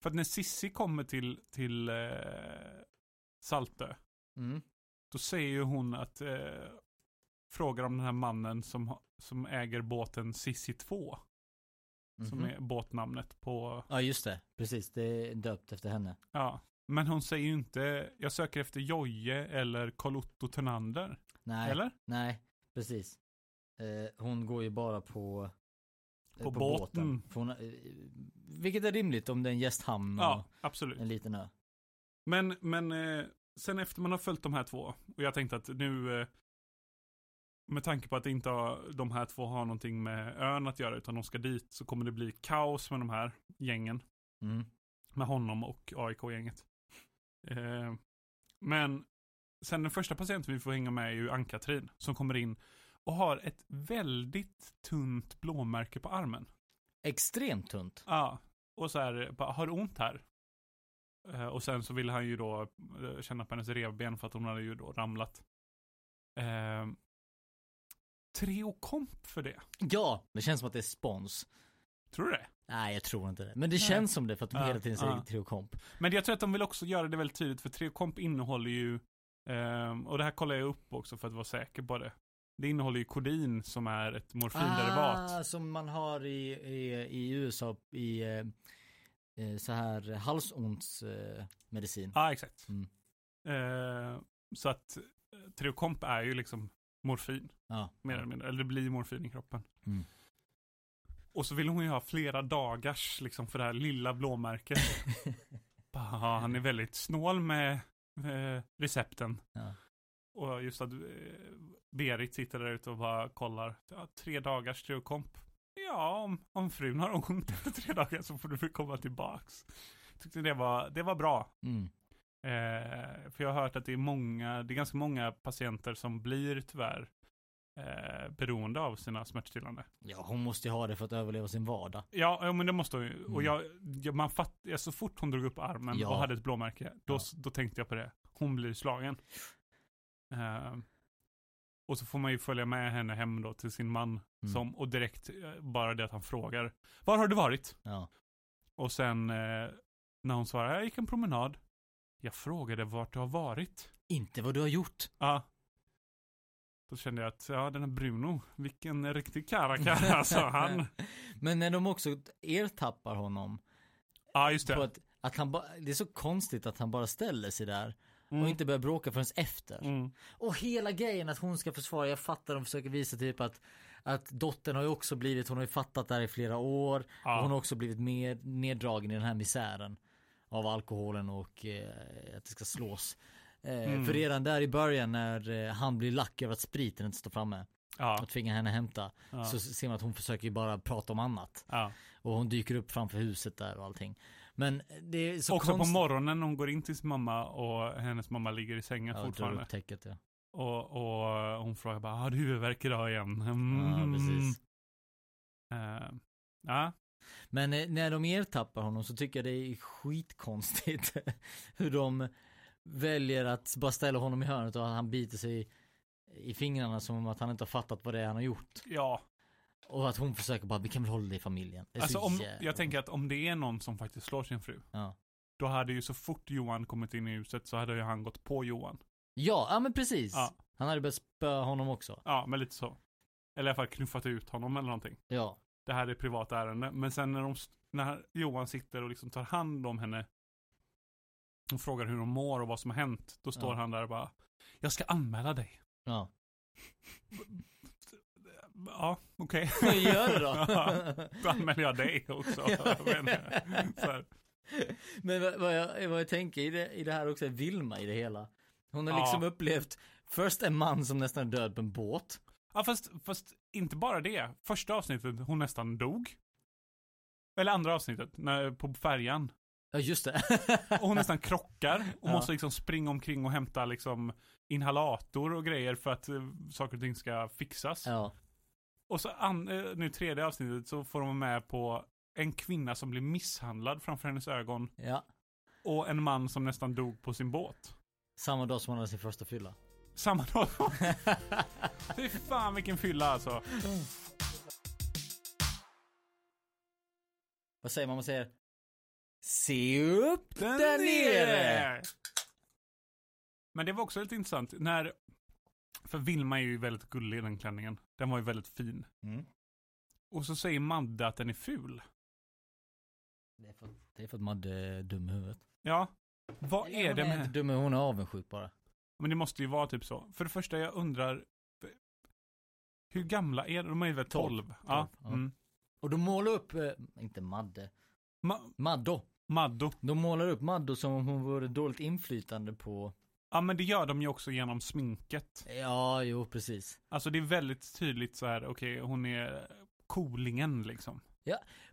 B: För att när Sissi kommer till, till eh, Saltö.
A: Mm.
B: Då säger ju hon att, eh, frågar om den här mannen som, ha- som äger båten Sissi 2. Som
A: Mhm.
B: är båtnamnet på,
A: Ja just det, precis, det är döpt efter henne.
B: ja. Men hon säger ju inte, jag söker efter Joje eller Karl Otto Thunander.
A: Nej,
B: Eller?
A: nej, precis. Eh, hon går ju bara på eh,
B: På båten.
A: För hon, eh, vilket är rimligt om det är en gästhamn och
B: Ja, absolut.
A: en liten ö.
B: Men, men eh, sen efter man har följt de här två, och jag tänkte att nu, eh, med tanke på att inte har, de här två har någonting med ön att göra, utan de ska dit, så kommer det bli kaos med de här gängen.
A: Mm.
B: med honom och AIK-gänget. Eh, men sen den första patienten vi får hänga med är ju Ann-Katrin som kommer in och har ett väldigt tunt blåmärke på armen.
A: Extremt tunt.
B: Ja, och så här, bara, har du ont här? Eh, och sen så vill han ju då eh, känna på hennes revben för att hon hade ju då ramlat. Eh, Treo komp för det.
A: Ja, det känns som att det är spons.
B: Tror du det?
A: Nej jag tror inte det. Men det känns som det för att de
B: Ja,
A: hela tiden säger
B: ja.
A: triokomp.
B: Men jag tror att de vill också göra det väldigt tydligt, för Trekomp innehåller ju, ehm, och det här kollar jag upp också för att vara säker på det. Det innehåller ju kodin som är ett morfinderivat.
A: Ah, som man har i, i, i USA i eh, eh, så här halsontsmedicin. Eh, medicin.
B: Ja, exakt.
A: Mm.
B: Eh, så att eh, Trekomp är ju liksom morfin,
A: ja.
B: mer eller mindre. Eller det blir morfin i kroppen.
A: Mm.
B: Och så vill hon ju ha flera dagars liksom för det här lilla blåmärket. Bah, han är väldigt snål med eh, recepten.
A: Ja.
B: Och just att eh, Berit sitter där ute och bara kollar. Ja, tre dagars triokomp. Ja, om, om frun har ont efter tre dagar så får du väl komma tillbaks. Jag tyckte det var, det var bra.
A: Mm.
B: Eh, för jag har hört att det är många, det är ganska många patienter som blir tyvärr eh, beroende av sina smärtstillande.
A: Ja, hon måste ju ha det för att överleva sin vardag.
B: Ja, ja, men det måste hon ju. Och
A: Mm.
B: jag, jag, man fatt, ja, så fort hon drog upp armen
A: Ja.
B: och hade ett blåmärke, då,
A: Ja.
B: s- då tänkte jag på det. Hon blir slagen. Eh, och så får man ju följa med henne hem då till sin man.
A: Mm.
B: Som, och direkt, eh, bara det att han frågar, var har du varit?
A: Ja.
B: Och sen eh, när hon svarar, jag gick en promenad. Jag frågade vart du har varit.
A: Inte vad du har gjort.
B: Ja. Då kände jag att, ja den här Bruno, vilken riktig karakär alltså han.
A: Men när de också ertappar honom.
B: Ja just
A: På
B: det.
A: att, att han ba, det är så konstigt att han bara ställer sig där.
B: Mm.
A: Och inte börjar bråka förrän efter.
B: Mm.
A: Och hela grejen att hon ska försvara, jag fattar de försöker visa typ att att dottern har ju också blivit, hon har ju fattat det här i flera år. Och
B: Ja.
A: hon har också blivit med, neddragen i den här misären. Av alkoholen och eh, att det ska slås. Eh,
B: Mm.
A: För redan där i början när eh, han blir lack över att spriten inte står framme.
B: Ja.
A: Och tvingar henne hämta.
B: Ja.
A: Så ser man att hon försöker ju bara prata om annat.
B: ja.
A: Och hon dyker upp framför huset där och allting. Men det är så
B: Också på
A: konstigt.
B: morgonen när hon går in till sin mamma och hennes mamma ligger i sängen
A: Ja, drar
B: fortfarande.
A: upp täcket ja.
B: Och, och hon frågar bara, har du huvudvärk idag igen? Mm.
A: ja precis.
B: Eh, ja.
A: Men eh, när de ertappar honom så tycker jag det är skitkonstigt hur de väljer att bara ställa honom i hörnet och att han biter sig i fingrarna som att han inte har fattat vad det är han har gjort.
B: ja.
A: Och att hon försöker bara, vi kan väl hålla det i familjen. Det är
B: Alltså
A: så
B: om,
A: jävla-
B: jag tänker att om det är någon som faktiskt slår sin fru,
A: Ja.
B: då hade ju så fort Johan kommit in i huset så hade ju han gått på Johan.
A: Ja, ja men precis.
B: Ja.
A: Han hade börjat spöa honom också.
B: Ja, men lite så. Eller i alla fall knuffat ut honom eller någonting.
A: Ja.
B: det här är ett privat ärende. Men sen när, de, när Johan sitter och liksom tar hand om henne och frågar hur hon mår och vad som har hänt, då står
A: Ja.
B: han där och bara Jag ska anmäla dig.
A: Ja.
B: Ja, okej.
A: Gör det
B: Ja,
A: då.
B: då anmäler jag dig också.
A: Ja.
B: Men, så här,
A: Men vad, vad, jag, vad jag tänker i det, i det här också är Vilma i det hela. Hon har
B: Ja.
A: liksom upplevt först en man som nästan är död på en båt.
B: ja, fast, fast inte bara det. Första avsnittet, hon nästan dog. Eller andra avsnittet, när, på färjan.
A: Ja just det.
B: Och hon nästan krockar och
A: Ja.
B: måste liksom springa omkring och hämta liksom inhalator och grejer för att eh, saker och ting ska fixas.
A: ja.
B: Och så an, eh, nu tredje avsnittet så får de vara med på en kvinna som blir misshandlad framför hennes ögon
A: ja.
B: och en man som nästan dog på sin båt.
A: Samma dag som hon hade sin första fylla.
B: Samma dag. Fy fan vilken fylla alltså.
A: Vad säger man? Man säger Se upp där nere!
B: Men det var också lite intressant när, för Vilma är ju väldigt gullig i den klänningen. Den var ju väldigt fin.
A: Mm.
B: Och så säger Madde att den är ful.
A: Det är för, det är för att man är dum i huvudet.
B: Ja. Vad
A: Eller
B: är det
A: Hon är
B: med?
A: inte dum, hon är avundsjuk bara.
B: Men det måste ju vara typ så. För det första, jag undrar. Hur gamla är de? De är ju väl 12?
A: Tolv.
B: Ja.
A: Tolv, ja.
B: Mm.
A: Och de målar upp, eh, inte Madde,
B: Ma-
A: Maddo.
B: Maddo.
A: De målar upp Maddo som om hon vore dåligt inflytande på
B: Ja men det gör de ju också genom sminket.
A: Ja, jo precis.
B: Alltså det är väldigt tydligt så här, okej hon är coolingen liksom.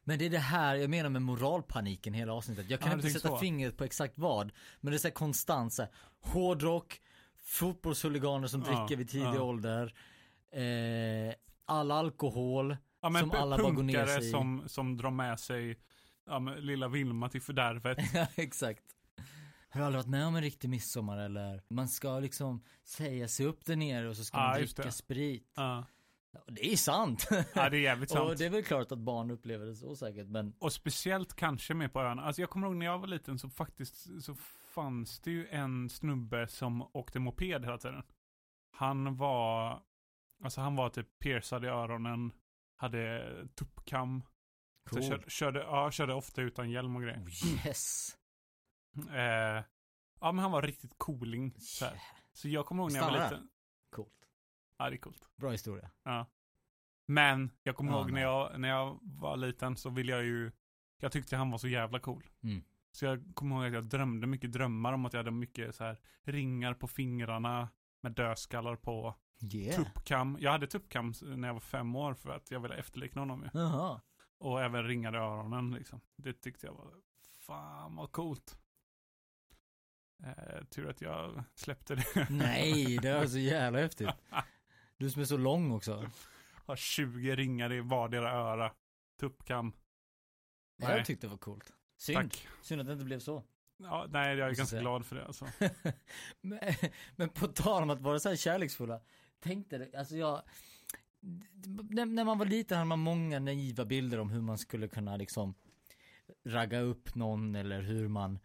A: Men det är det här jag menar med moralpaniken hela avsnittet. Jag kan
B: Ja, du
A: inte
B: tänker
A: sätta
B: så.
A: fingret på exakt vad. Men det är så här konstant så här, hårdrock, fotbollshuliganer som
B: Ja,
A: dricker vid tidig
B: ja.
A: ålder, eh, all alkohol.
B: Ja men
A: Som
B: pu-
A: alla bara går ner
B: punkare
A: sig i.
B: som, som drar med sig ja, men, lilla Vilma till fördärvet.
A: Ja, exakt. Har du aldrig varit med om en riktig midsommar eller? Man ska liksom säga sig upp där nere och så ska
B: Ja,
A: man
B: just
A: dricka
B: det.
A: sprit.
B: Ja.
A: Och det är sant.
B: ja det är jävligt sant.
A: Och det är väl klart att barn upplever det så säkert men
B: Och speciellt kanske med på öarna. Alltså jag kommer ihåg när jag var liten så faktiskt så fanns det ju en snubbe som åkte moped hela tiden. Han var, alltså han var typ piercad i öronen, hade tuppkam,
A: cool.
B: så körde, körde, ja, körde ofta utan hjälm och grejer.
A: Oh, yes.
B: Eh, ja men han var riktigt cooling. Så, här.
A: Yeah.
B: så jag kommer ihåg när jag var
A: Stannar
B: liten.
A: Coolt.
B: Ja det är coolt.
A: Bra historia.
B: Men jag kommer
A: Ja,
B: ihåg när
A: nej.
B: jag, när jag var liten så ville jag ju, jag tyckte han var så jävla cool.
A: Mm.
B: Så jag kommer ihåg att jag drömde mycket drömmar om att jag hade mycket så här ringar på fingrarna med dödskallar på.
A: Yeah.
B: Tuppkam. Jag hade tuppkam när jag var fem år för att jag ville efterlikna honom ju.
A: Jaha.
B: Och även ringade öronen liksom. Det tyckte jag var, fan vad coolt. Eh, tur att jag släppte det.
A: Nej, det var så jävla häftigt. Du som är så lång också.
B: Har 20 ringar i vardera öra. Tuppkam.
A: Nej. Jag tyckte det var coolt. Synd.
B: Tack.
A: Synd att det inte blev så.
B: Ja, nej, jag är
A: Måste
B: ganska
A: säga.
B: glad för det alltså.
A: men, men på tal om att vara så här kärleksfulla. Tänk dig, alltså jag, när, när man var liten hade man många naiva bilder om hur man skulle kunna liksom ragga upp någon eller hur man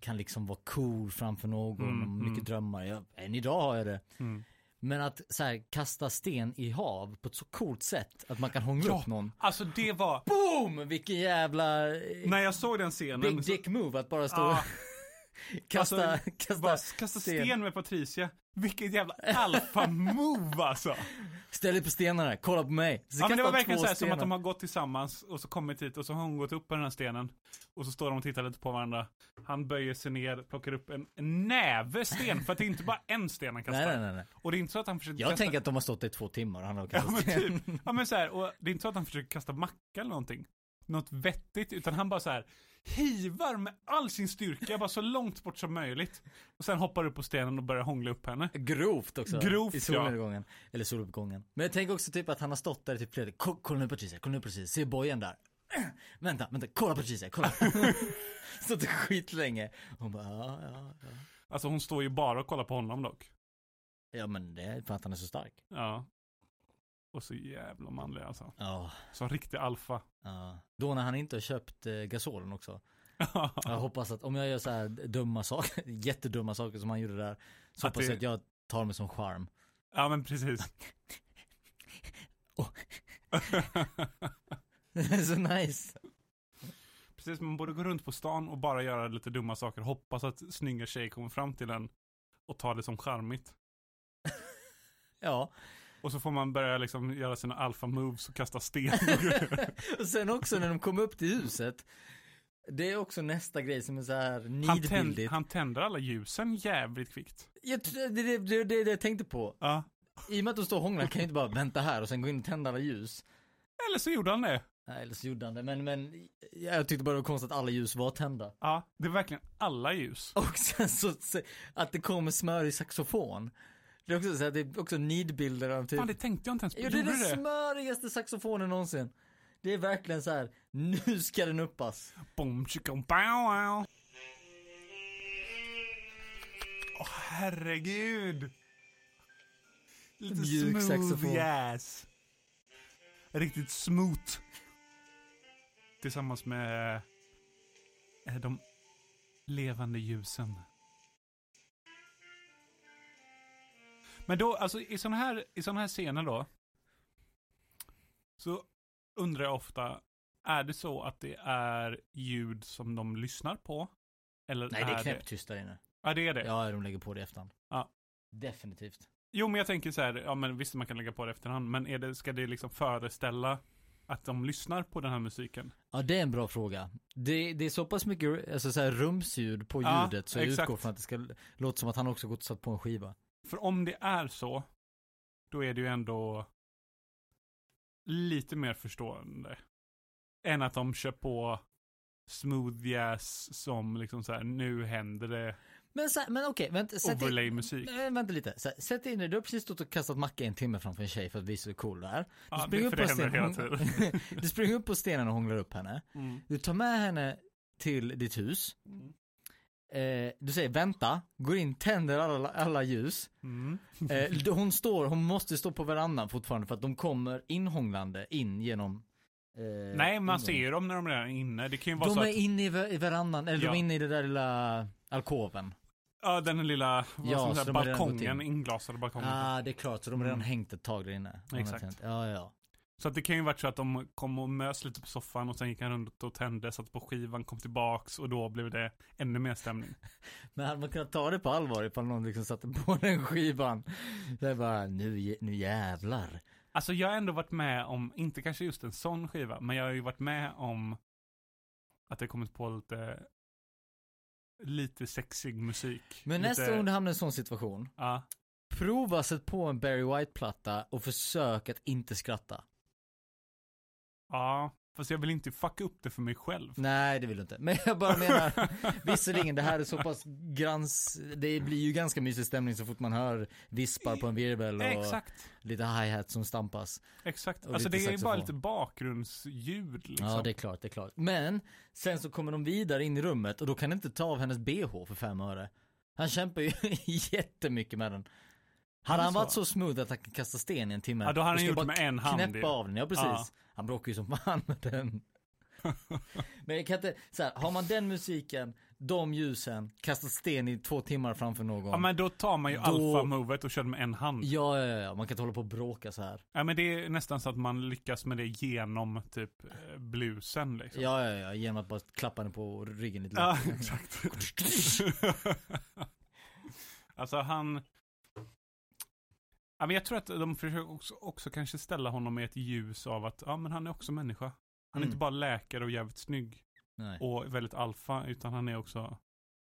A: kan liksom vara cool framför någon
B: Mm,
A: och mycket
B: mm.
A: drömmar. Jag, än idag har jag det.
B: Mm.
A: Men att så här, kasta sten i hav på ett så coolt sätt att man kan hångla
B: Ja.
A: upp någon.
B: Alltså det var,
A: Boom! Vilken jävla eh,
B: när jag såg den scenen.
A: big
B: så-
A: dick move att bara stå
B: Ah,
A: och kasta,
B: alltså,
A: kasta
B: bara kasta sten. med Patricia. Vilket jävla alfa-move alltså.
A: Ställ dig på stenarna, kolla på mig. Så
B: Ja, men det var
A: kastar
B: verkligen
A: två
B: så här, som
A: stenar.
B: att de har gått tillsammans och så kommit hit och så har hon gått upp på den här stenen. Och så står de och tittar lite på varandra. Han böjer sig ner, plockar upp en en näve sten. För att det är inte bara en sten han kastar.
A: Nej, nej, nej, nej.
B: Och det är inte så att han försöker
A: Jag
B: kasta...
A: tänker Mm. att de har stått i två timmar och han har
B: Ja
A: kastat
B: men
A: sten.
B: typ. Ja men så här, och det är inte så att han försöker kasta macka eller någonting. Något vettigt, utan han bara så här hivar med all sin styrka, bara så långt bort som möjligt. Och sen hoppar upp på stenen och börjar hångla upp henne.
A: Grovt också.
B: typ- Grovt,
A: I solnedgången. Eller soluppgången. Men jag tänker också typ att han har stått där i typ flera dagar. Ko- Kolla nu Patricia, kolla nu Patricia, se bojen där. vänta, vänta, kolla Patricia, kolla. stått skitlänge. Hon bara, ja, ja, ja.
B: Alltså hon står ju bara och kollar på honom dock.
A: Ja men det är för att han är så stark.
B: Ja. Och så jävla manlig alltså.
A: Ja,
B: Som riktig alfa.
A: ja. Då när han inte har köpt eh, gasolen också. Jag hoppas att om jag gör så här dumma saker, jättedumma saker som han gjorde där. Så
B: Att
A: hoppas jag
B: det-
A: att jag tar mig som charm.
B: ja men precis.
A: Åh. så nice.
B: Precis, man borde gå runt på stan och bara göra lite dumma saker. Hoppas att snygga tjejer kommer fram till en och tar det som charmigt.
A: Ja.
B: Och så får man börja liksom göra sina alfa moves och kasta sten.
A: och sen också när de kom upp till huset. Det är också nästa grej som är så här
B: han, tänd,
A: nidbildigt.
B: han tänder alla ljusen jävligt kvickt.
A: Jag tror- Det är det, det, det, det jag tänkte på.
B: Ja.
A: I och med att de står och hånglar kan jag inte bara vänta här och sen gå in och tända alla ljus.
B: Eller så gjorde han det.
A: Nej, eller så gjorde han det. Men, men jag tyckte bara det var konstigt att alla ljus var tända.
B: Ja, det är verkligen alla ljus.
A: Och sen så se- att det kommer smör i saxofon. Det är också så här, det är också nidbilder av typ.
B: Fan, det tänkte jag inte ens på.
A: Jo,
B: Gjorde
A: det är
B: du
A: den
B: det?
A: smörigaste saxofonen någonsin. Det är verkligen så här, nu ska den uppas.
B: Bom, chikom, pow, wow. Åh, herregud. Lite
A: Mjuk
B: smooth
A: saxofon.
B: jazz. Riktigt smooth. Tillsammans med eh, de levande ljusen. Men då, alltså i sådana här, i såna här scener då. Så undrar jag ofta, är det så att det är ljud som de lyssnar på? Eller
A: Nej, det är
B: det?
A: knäpptyst där inne.
B: Ja, det är det.
A: Ja, de lägger på det i efterhand.
B: Ja.
A: Definitivt.
B: Jo, men jag tänker så här, ja men visst man kan lägga på det efterhand, men är det, ska det liksom föreställa att de lyssnar på den här musiken?
A: Ja, det är en bra fråga. Det, det är så pass mycket alltså, så här, rumsljud på
B: Ja,
A: ljudet så jag
B: exakt.
A: utgår från att det ska låta som att han också gått och satt på en skiva.
B: För om det är så, då är det ju ändå lite mer förstående. Än att de kör på smooth jazz som liksom så här, nu händer det
A: Men, så, här- men okej, vänta, sätt in,
B: overlay-musik.
A: men, vänta lite. Så, här, sätt in dig, du har precis stått och kastat macka i en timme framför en tjej för att visa hur cool du är. Du
B: Ja,
A: springer
B: det,
A: upp
B: för det
A: på
B: händer hela
A: scenen.
B: tiden.
A: Du springer upp på stenen och hånglar upp henne.
B: Mm.
A: Du tar med henne till ditt hus. Eh, du säger vänta, går in, tänder alla, alla ljus.
B: Mm.
A: Eh, hon står, hon måste stå på verandan fortfarande för att de kommer inhånglande in genom... eh,
B: Nej, man
A: ingången.
B: ser ju dem när de redan är inne. Det kan ju vara
A: De
B: så
A: är
B: att,
A: inne i, ver- i verandan, eller
B: Ja.
A: de är inne i den där lilla alkoven.
B: ja den lilla, vad
A: Ja,
B: som
A: så
B: säger,
A: de har redan gått
B: balkongen,
A: in.
B: inglasade balkongen.
A: ah, det är klart, så de har redan
B: Mm.
A: hängt ett tag där inne. Om jag
B: Exakt.
A: tänkte- Ja, ja.
B: Så att det kan ju varit så att de kom och mös lite på soffan och sen gick han runt och tände, satt på skivan, kom tillbaks och då blev det ännu mer stämning.
A: Men hade man kunnat ta det på allvar ifall någon liksom satte på den skivan? Det är bara, nu, jä- nu jävlar.
B: Alltså jag har ändå varit med om, inte kanske just en sån skiva, men jag har ju varit med om att det kommit på lite, lite sexig musik.
A: Men
B: lite,
A: nästa gång du hamnar i en sån situation,
B: Ja,
A: Prova sätt på en Barry White-platta och försök att inte skratta.
B: Ja, fast jag vill inte fucka upp det för mig själv.
A: Nej, det vill du inte. Men jag bara menar, visserligen det här är så pass grans, det blir ju ganska mysig stämning så fort man hör vispar på en virvel och
B: Exakt,
A: lite hi-hat som stampas.
B: exakt.
A: Och
B: Alltså
A: lite
B: det är ju bara
A: saxofon.
B: lite bakgrundsljud liksom.
A: Ja, det är klart, det är klart. Men, sen så kommer de vidare in i rummet och då kan han inte ta av hennes bh för fem öre. Han kämpar ju jättemycket med den. Hade
B: Är det
A: han varit
B: så?
A: så smooth att han kan kasta sten i en timme.
B: Ja, då hade
A: och
B: han
A: ska
B: gjort
A: bara
B: det med en hand ju.
A: Knäppa av den, ja precis.
B: Ja.
A: Han bråkar ju som fan med den. Men jag kan inte, så här, har man den musiken, de ljusen, kastar sten i två timmar framför någon.
B: Ja men då tar man ju
A: Då-
B: alfa-movet och kör det med en hand.
A: ja, ja, ja, man kan inte hålla på och bråka så här.
B: Ja men det är nästan så att man lyckas med det genom typ eh, blusen liksom.
A: Ja, ja, ja, genom att bara klappa den på ryggen lite
B: Ja,
A: lätt.
B: exakt. alltså han... Ja, men jag tror att de försöker också, också kanske ställa honom i ett ljus av att ja, men han är också människa. Han är
A: Mm.
B: inte bara läkare och jävligt snygg
A: Nej.
B: och väldigt alfa, utan han är också,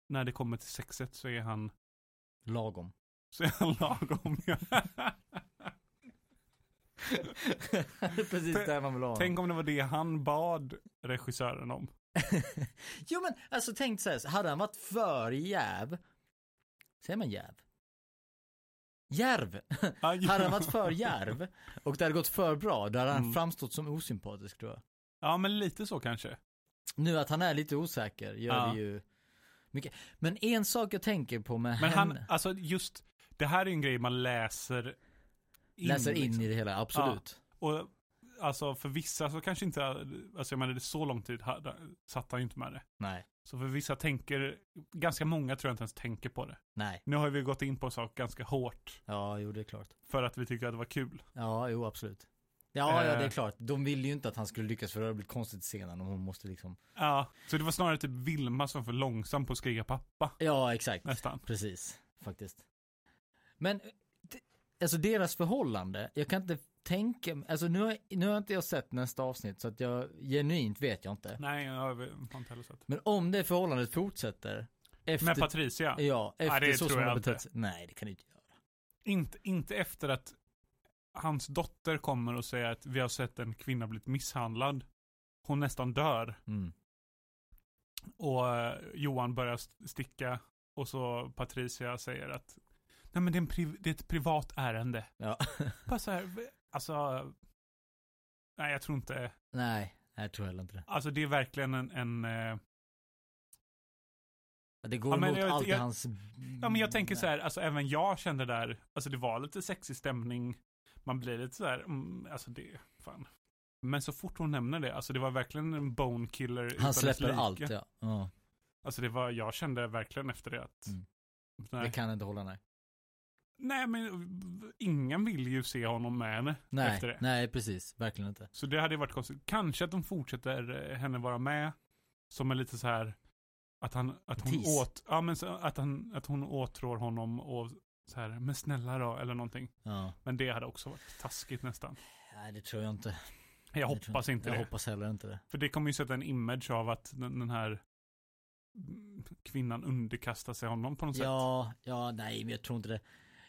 B: när det kommer till sexet så är han,
A: Lagom.
B: så är han lagom.
A: Precis
B: Tänk-
A: där man vill ha honom.
B: Tänk om det var det han bad regissören om.
A: Jo men alltså tänk så här, hade han varit för jäv, säger man jäv? Järv!
B: Ja, ja.
A: Hade han varit för järv och det hade gått för bra, då hade han
B: Mm.
A: framstått som osympatisk tror jag.
B: Ja, men lite så kanske.
A: Nu att han är lite osäker gör
B: Ja.
A: det ju mycket. Men en sak jag tänker på med
B: Men han,
A: henne,
B: alltså just, det här är ju en grej man läser in,
A: läser in
B: liksom.
A: i det hela, absolut.
B: Och alltså för vissa så kanske inte, alltså jag menar det så lång tid hade, satt han ju inte med det.
A: Nej,
B: Så för vissa tänker, ganska många tror jag inte ens tänker på det.
A: nej,
B: Nu har vi gått in på en sak ganska hårt
A: ja jo det är klart.
B: för att vi tyckte att det var kul.
A: Ja, jo absolut. Ja, ja det är
B: Eh.
A: klart. De ville ju inte att han skulle lyckas för det hade blivit konstigt senare om hon måste liksom.
B: Ja, så det var snarare typ Vilma som var för långsam på att skrika pappa,
A: Ja, exakt.
B: nästan.
A: Precis, faktiskt. Men, d- alltså deras förhållande, jag kan inte tänka, alltså nu har, nu har inte jag sett nästa avsnitt så att jag genuint vet jag inte.
B: Nej, jag har inte heller sett.
A: Men om det förhållandet fortsätter, efter,
B: Med Patricia.
A: ja, efter
B: det
A: så
B: tror
A: som
B: jag
A: hon har
B: inte.
A: betett sig. Nej, det kan du inte göra.
B: Inte, inte efter att hans dotter kommer och säger att vi har sett en kvinna blivit misshandlad. Hon nästan dör.
A: Mm.
B: Och eh, Johan börjar st- sticka och så Patricia säger att Nej men det är, en priv- det är ett privat ärende.
A: Ja.
B: Bara så här, v- alltså Nej jag tror inte,
A: nej, jag tror heller inte det.
B: alltså det är verkligen en, en eh,
A: Det går
B: Ja, men
A: emot
B: jag-
A: allt i
B: jag-
A: hans...
B: Ja men jag tänker så här, alltså även jag kände där, alltså det var lite sexig stämning. Man blir lite så här, mm, alltså det, fan. Men så fort hon nämner det, alltså det var verkligen en bone killer. utan
A: Han
B: dess
A: släpper
B: like.
A: allt, ja. ja.
B: Alltså det var, jag kände verkligen efter det att,
A: Mm.
B: nej.
A: Det kan inte hålla, nej.
B: Nej, men ingen vill ju se honom med henne efter
A: Nej,
B: det.
A: nej precis, verkligen inte.
B: Så det hade ju varit konstigt. Kanske att de fortsätter eh, henne vara med som en lite så här att han, att hon
A: Tease.
B: åt, ja men så att han, att hon åtrår honom och så här, men snälla då, eller någonting.
A: Ja.
B: Men det hade också varit taskigt nästan.
A: Nej, det tror jag inte.
B: Jag
A: Det tror
B: hoppas
A: jag
B: inte
A: Jag
B: det.
A: hoppas heller inte det.
B: För det kommer ju sätta en image av att den, den här mm, kvinnan underkastar sig honom på något sätt.
A: Ja, ja, nej, men jag tror inte det.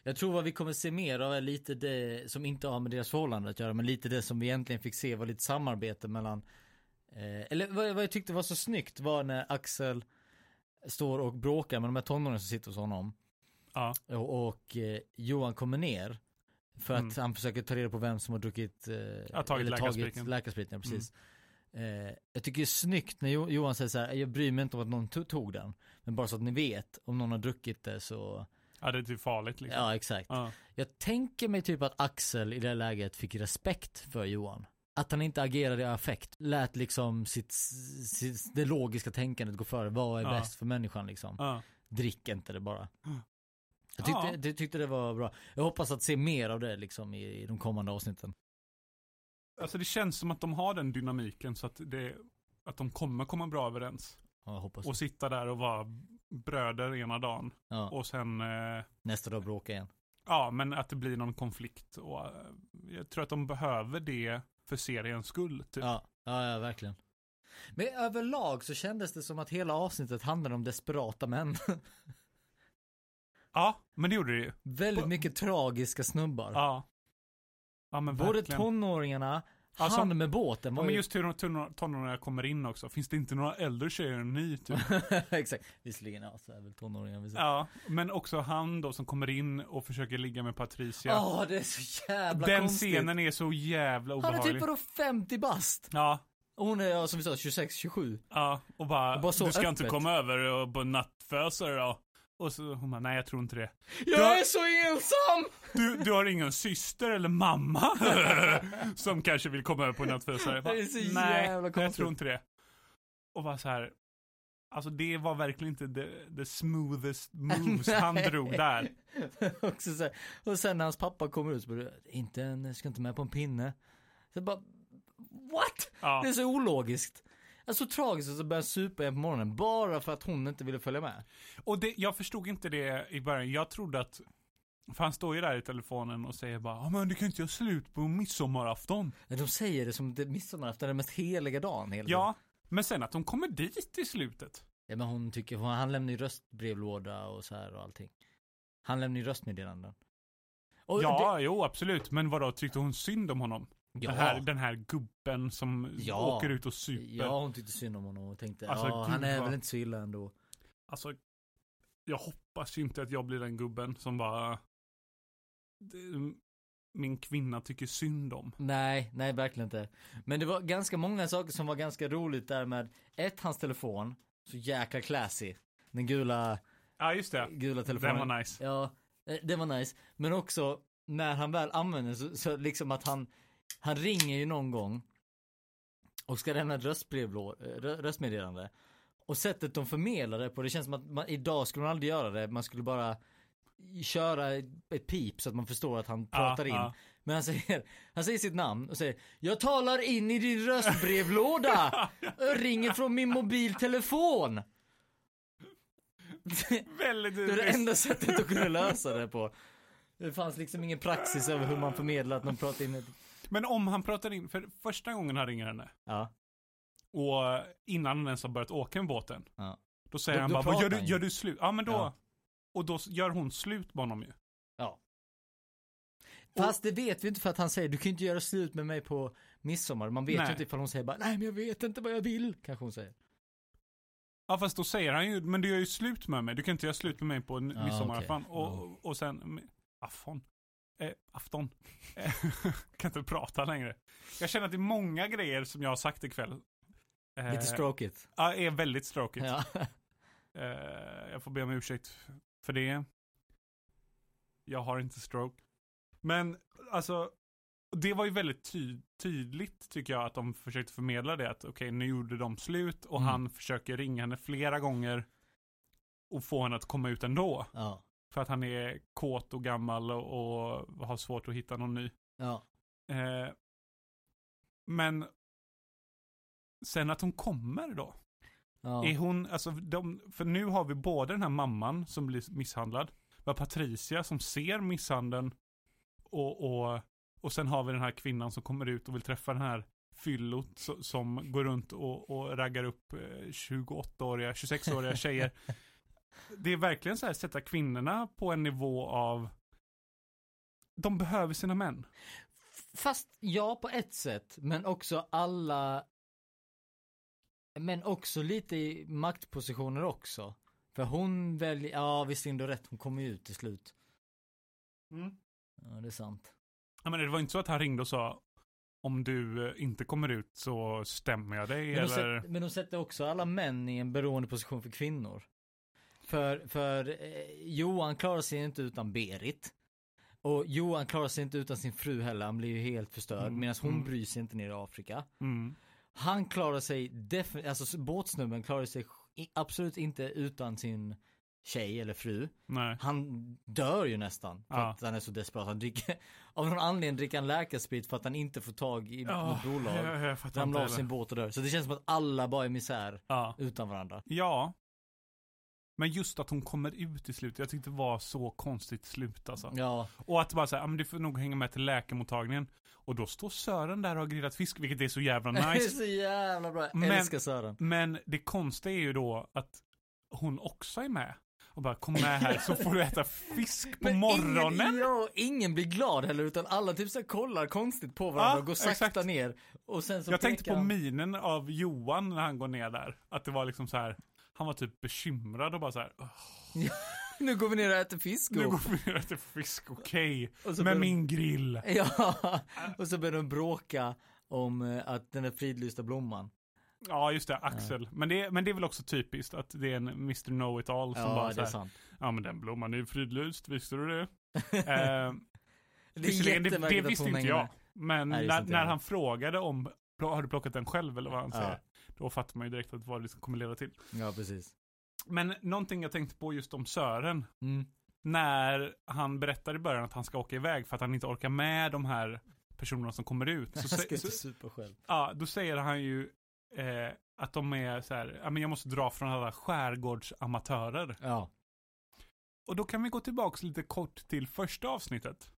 A: Jag tror vad vi kommer se mer av är lite det som inte har med deras förhållande att göra, men lite det som vi egentligen fick se var lite samarbete mellan, eh, eller vad, jag- vad jag tyckte var så snyggt var när Axel står och bråkar med de här tonåringarna som sitter hos honom.
B: Ja.
A: Och, och eh, Johan kommer ner för att
B: Mm.
A: han försöker ta reda på vem som har druckit, eh,
B: Ja, tagit Mm. läkarspriten.
A: läkarspriten, ja, precis. Eh, jag tycker det är snyggt när Jo- Johan säger så här, jag bryr mig inte om att någon to- tog den. Men bara så att ni vet, om någon har druckit det så,
B: Ja, det är typ farligt liksom.
A: ja exakt.
B: Ja.
A: Jag tänker mig typ att Axel i det här läget fick respekt för Johan. Att han inte agerade i affekt, lät liksom sitt, sitt det logiska tänkandet gå före, vad är
B: Ja.
A: bäst för människan liksom.
B: Ja.
A: Drick inte det bara.
B: Mm.
A: Jag tyckte,
B: Ja.
A: jag tyckte det var bra. Jag hoppas att se mer av det liksom i, i de kommande avsnitten.
B: Alltså det känns som att de har den dynamiken så att, det, att de kommer komma bra överens.
A: Ja, jag hoppas.
B: Och sitta där och vara bröder ena dagen.
A: Ja,
B: Och Typ. sen, eh,
A: nästa dag bråka igen.
B: ja men att det blir någon konflikt. Och, eh, jag tror att de behöver det för seriens skull. Typ.
A: Ja, ja, ja verkligen. Men överlag så kändes det som att hela avsnittet handlade om desperata män.
B: Ja, men det gjorde det ju.
C: Väldigt
B: Bo-
C: mycket tragiska snubbar.
B: Ja. Ja men
A: Både
B: verkligen.
A: tonåringarna,
B: Ja,
A: han
B: som-
A: med båten
B: Ja,
A: var
B: men
A: ju...
B: just hur ton- tonåringar kommer in också. Finns det inte några äldre tjejer än ni typ?
A: Exakt. Visserligen, ja, så är väl tonåringar. visst.
B: Ja, men också han då som kommer in och försöker ligga med Patricia.
A: Åh, det är så jävla
B: Den
A: konstigt.
B: scenen är så jävla
A: Han är
B: obehaglig.
A: typ vadå 50 bast?
B: Ja,
A: Och hon är, ja, som vi sa, 26, 27.
B: ja. Och bara,
A: Och bara så
B: du ska
A: öppet."
B: inte komma över och bara nattfösa dig då. Och så hon bara, nej jag tror inte det.
C: Jag är så ensam!
B: Du, du har ingen syster eller mamma som kanske vill komma över på en nattfösare? Jag bara,
A: Det är så
B: Nej,
A: jävla
B: jag
A: konstigt."
B: tror inte det. Och bara så här. Alltså det var verkligen inte the, the smoothest moves han
A: Nej.
B: drog där.
A: Också så här. Och sen när hans pappa kommer ut så bara, inte en, ska inte med på en pinne. Så bara, what?
B: Ja.
A: Det är så ologiskt. Alltså tragiskt att så börjar han supa igen på morgonen bara för att hon inte ville följa med.
B: Och det, jag förstod inte det i början. Jag trodde att, för han står ju där i telefonen och säger bara ah, men du kan inte göra slut på midsommarafton.
A: Men De säger det som det är midsommarafton, den mest heliga dagen hela tiden.
B: Ja, men sen att de kommer dit i slutet.
A: ja. men hon tycker, hon- han lämnar ju röstbrevlåda och så här och allting. Han lämnar ju röstmeddelanden. Och
B: Ja, jo absolut. Men vadå, tyckte hon synd om honom?
A: det, ja,
B: Den, här, den här gubben som
A: Ja.
B: åker ut och super.
A: ja, hon tyckte synd om honom och tänkte,
B: Alltså,
A: ja,
B: gud,
A: han är
B: vad-
A: väl inte så illa ändå.
B: Alltså, jag hoppas ju inte att jag blir den gubben som bara... "Det- Min kvinna tycker synd om.
A: Nej, nej verkligen inte. Men det var ganska många saker som var ganska roligt där med ett, hans telefon, så jäkla classy. Den gula,
B: Ja, just det.
A: gula telefonen.
B: Den var nice.
A: Ja, eh, det var nice. Men också när han väl använder så, så liksom att han, han ringer ju någon gång och ska lämna ett röstbrevlå- eh, rö- röstmeddelande. Och sättet de förmedlar det på, det känns som att man, idag skulle man aldrig göra det, man skulle bara köra ett ett pip så att man förstår att han pratar in.
B: ja.
A: Men han säger, han säger sitt namn och säger Jag talar in i din röstbrevlåda! Jag ringer från min mobiltelefon!
B: Väldigt
A: Det var det
B: visst.
A: enda sättet att kunna lösa det på. Det fanns liksom ingen praxis över hur man förmedlar att någon pratar in ett...
B: Men om han pratar in, för första gången han ringer henne
A: Ja.
B: och innan han ens har börjat åka med båten.
A: Ja.
B: Då säger
A: Då-
B: han
A: då
B: bara, "Vad gör
A: pratar
B: du,
A: han ju."
B: gör du slut? Ja men då.
A: Ja.
B: Och då s- gör hon slut med honom ju.
A: Fast det vet vi inte för att han säger du kan ju inte göra slut med mig på midsommar. Man vet
B: Nej.
A: ju inte ifall hon säger bara nej men jag vet inte vad jag vill. Kanske hon säger.
B: Ja fast då säger han ju, men du gör ju slut med mig. Du kan inte göra slut med mig på n-
A: Ja,
B: midsommarafton.
A: Ah, okej.
B: Och, och sen, afton. Eh, afton. Eh, kan inte prata längre. Jag känner att det är många grejer som jag har sagt ikväll. Eh,
A: Lite stroke it.
B: Ja, är väldigt stråkigt.
A: Ja.
B: Eh, jag får be om ursäkt för det. Jag har inte stroke. Men alltså, det var ju väldigt ty- tydligt tycker jag att de försökte förmedla det. Att okej, nu gjorde de slut och
A: Mm.
B: han försöker ringa henne flera gånger och få henne att komma ut ändå.
A: ja.
B: För att han är kåt och gammal och, och har svårt att hitta någon ny.
A: Ja.
B: Eh, men sen att hon kommer då.
A: Ja.
B: Är hon, alltså de, för nu har vi både den här mamman som blir misshandlad, vi har Patricia som ser misshandeln och, och, och sen har vi den här kvinnan som kommer ut och vill träffa den här fyllot so- som går runt och, och raggar upp eh, 28-åriga, 26-åriga tjejer. Det är verkligen så här sätta kvinnorna på en nivå av de behöver sina män.
A: Fast ja på ett sätt men också alla men också lite i maktpositioner också. För hon väljer, ja visserligen du har rätt hon kommer ju ut till slut.
B: Mm.
A: Ja det är sant.
B: Ja, men det var inte så att han ringde och sa om du eh, inte kommer ut så stämmer jag dig
A: Men de,
B: eller?
A: sätter, men de sätter också alla män i en beroende position för kvinnor. För, för eh, Johan klarar sig inte utan Berit. Och Johan klarar sig inte utan sin fru heller, han blir ju helt förstörd.
B: Mm,
A: Medan hon
B: mm.
A: bryr sig inte nere i Afrika.
B: Mm.
A: Han klarar sig definitivt, alltså s- båtsnubben klarar sig i- absolut inte utan sin tjej eller fru.
B: Nej.
A: Han dör ju nästan för
B: Ja.
A: att han är så desperat. Han dricker, av någon anledning dricker han läkarsprit för att han inte får tag i något bolag.
B: jag, jag fattar
A: Ramlar av
B: heller.
A: sin båt och dör. Så det känns som att alla bara är misär
B: Ja.
A: utan varandra.
B: ja. Men just att hon kommer ut i slutet, jag tyckte det var så konstigt slut alltså.
A: Ja,
B: Och att bara säga, ja men du får nog hänga med till läkarmottagningen. Och då står Sören där och har grillat fisk, vilket är så jävla
A: det är
B: nice.
A: så jävla bra. Jag
B: Men-
A: älskar Sören.
B: Men det konstiga är ju då att hon också är med. Och Och bara kom med här så får du äta fisk på morgonen.
A: Ingen, ja, ingen blir glad heller utan alla typ så här kollar konstigt på varandra
B: Ja,
A: och går sakta
B: exakt.
A: ner. Och sen så
B: Jag tänkte
A: pekar
B: på
A: han-
B: minen av Johan när han går ner där. Att det var liksom så här. Han var typ bekymrad och bara så här. "Åh,
A: Nu går vi ner och äter fisk.
B: Nu
A: ihop.
B: går vi ner och äter fisk, okej.
A: Och så börjar
B: Med
A: de-
B: min grill.
A: Ja, och så börjar de bråka om eh, att den där fridlysta blomman.
B: Ja, just det. Axel. Men, det, men det är väl också typiskt att det är en Mr. Know-It-All som
D: Ja, det
B: bara
D: är
B: så här,
D: sant.
B: Ja, men den blomman är ju fridlyst. Visste du det? eh,
A: Det är
B: visserligen, det, det
A: jättemärkligt att
B: visste
A: hon
B: inte
A: hänger
B: jag.
A: med.
B: Men
A: Nej, det visste
B: när,
A: inte
B: när
A: jag.
B: han frågade om "Pl- har du plockat den själv eller vad han
A: Ja.
B: säger. Då fattar man ju direkt att vad det kommer leda till.
A: Ja, precis.
B: Men någonting jag tänkte på just om Sören.
A: Mm.
B: när han berättar i början att han ska åka iväg för att han inte orkar med de här personerna som kommer ut. Så,
A: Jag ska
B: sä-
A: inte
B: så,
A: supa själv.
B: ja, då säger han ju eh, att de är så här, ja men jag måste dra från alla skärgårdsamatörer.
A: Ja.
B: Och då kan vi gå tillbaks lite kort till första avsnittet.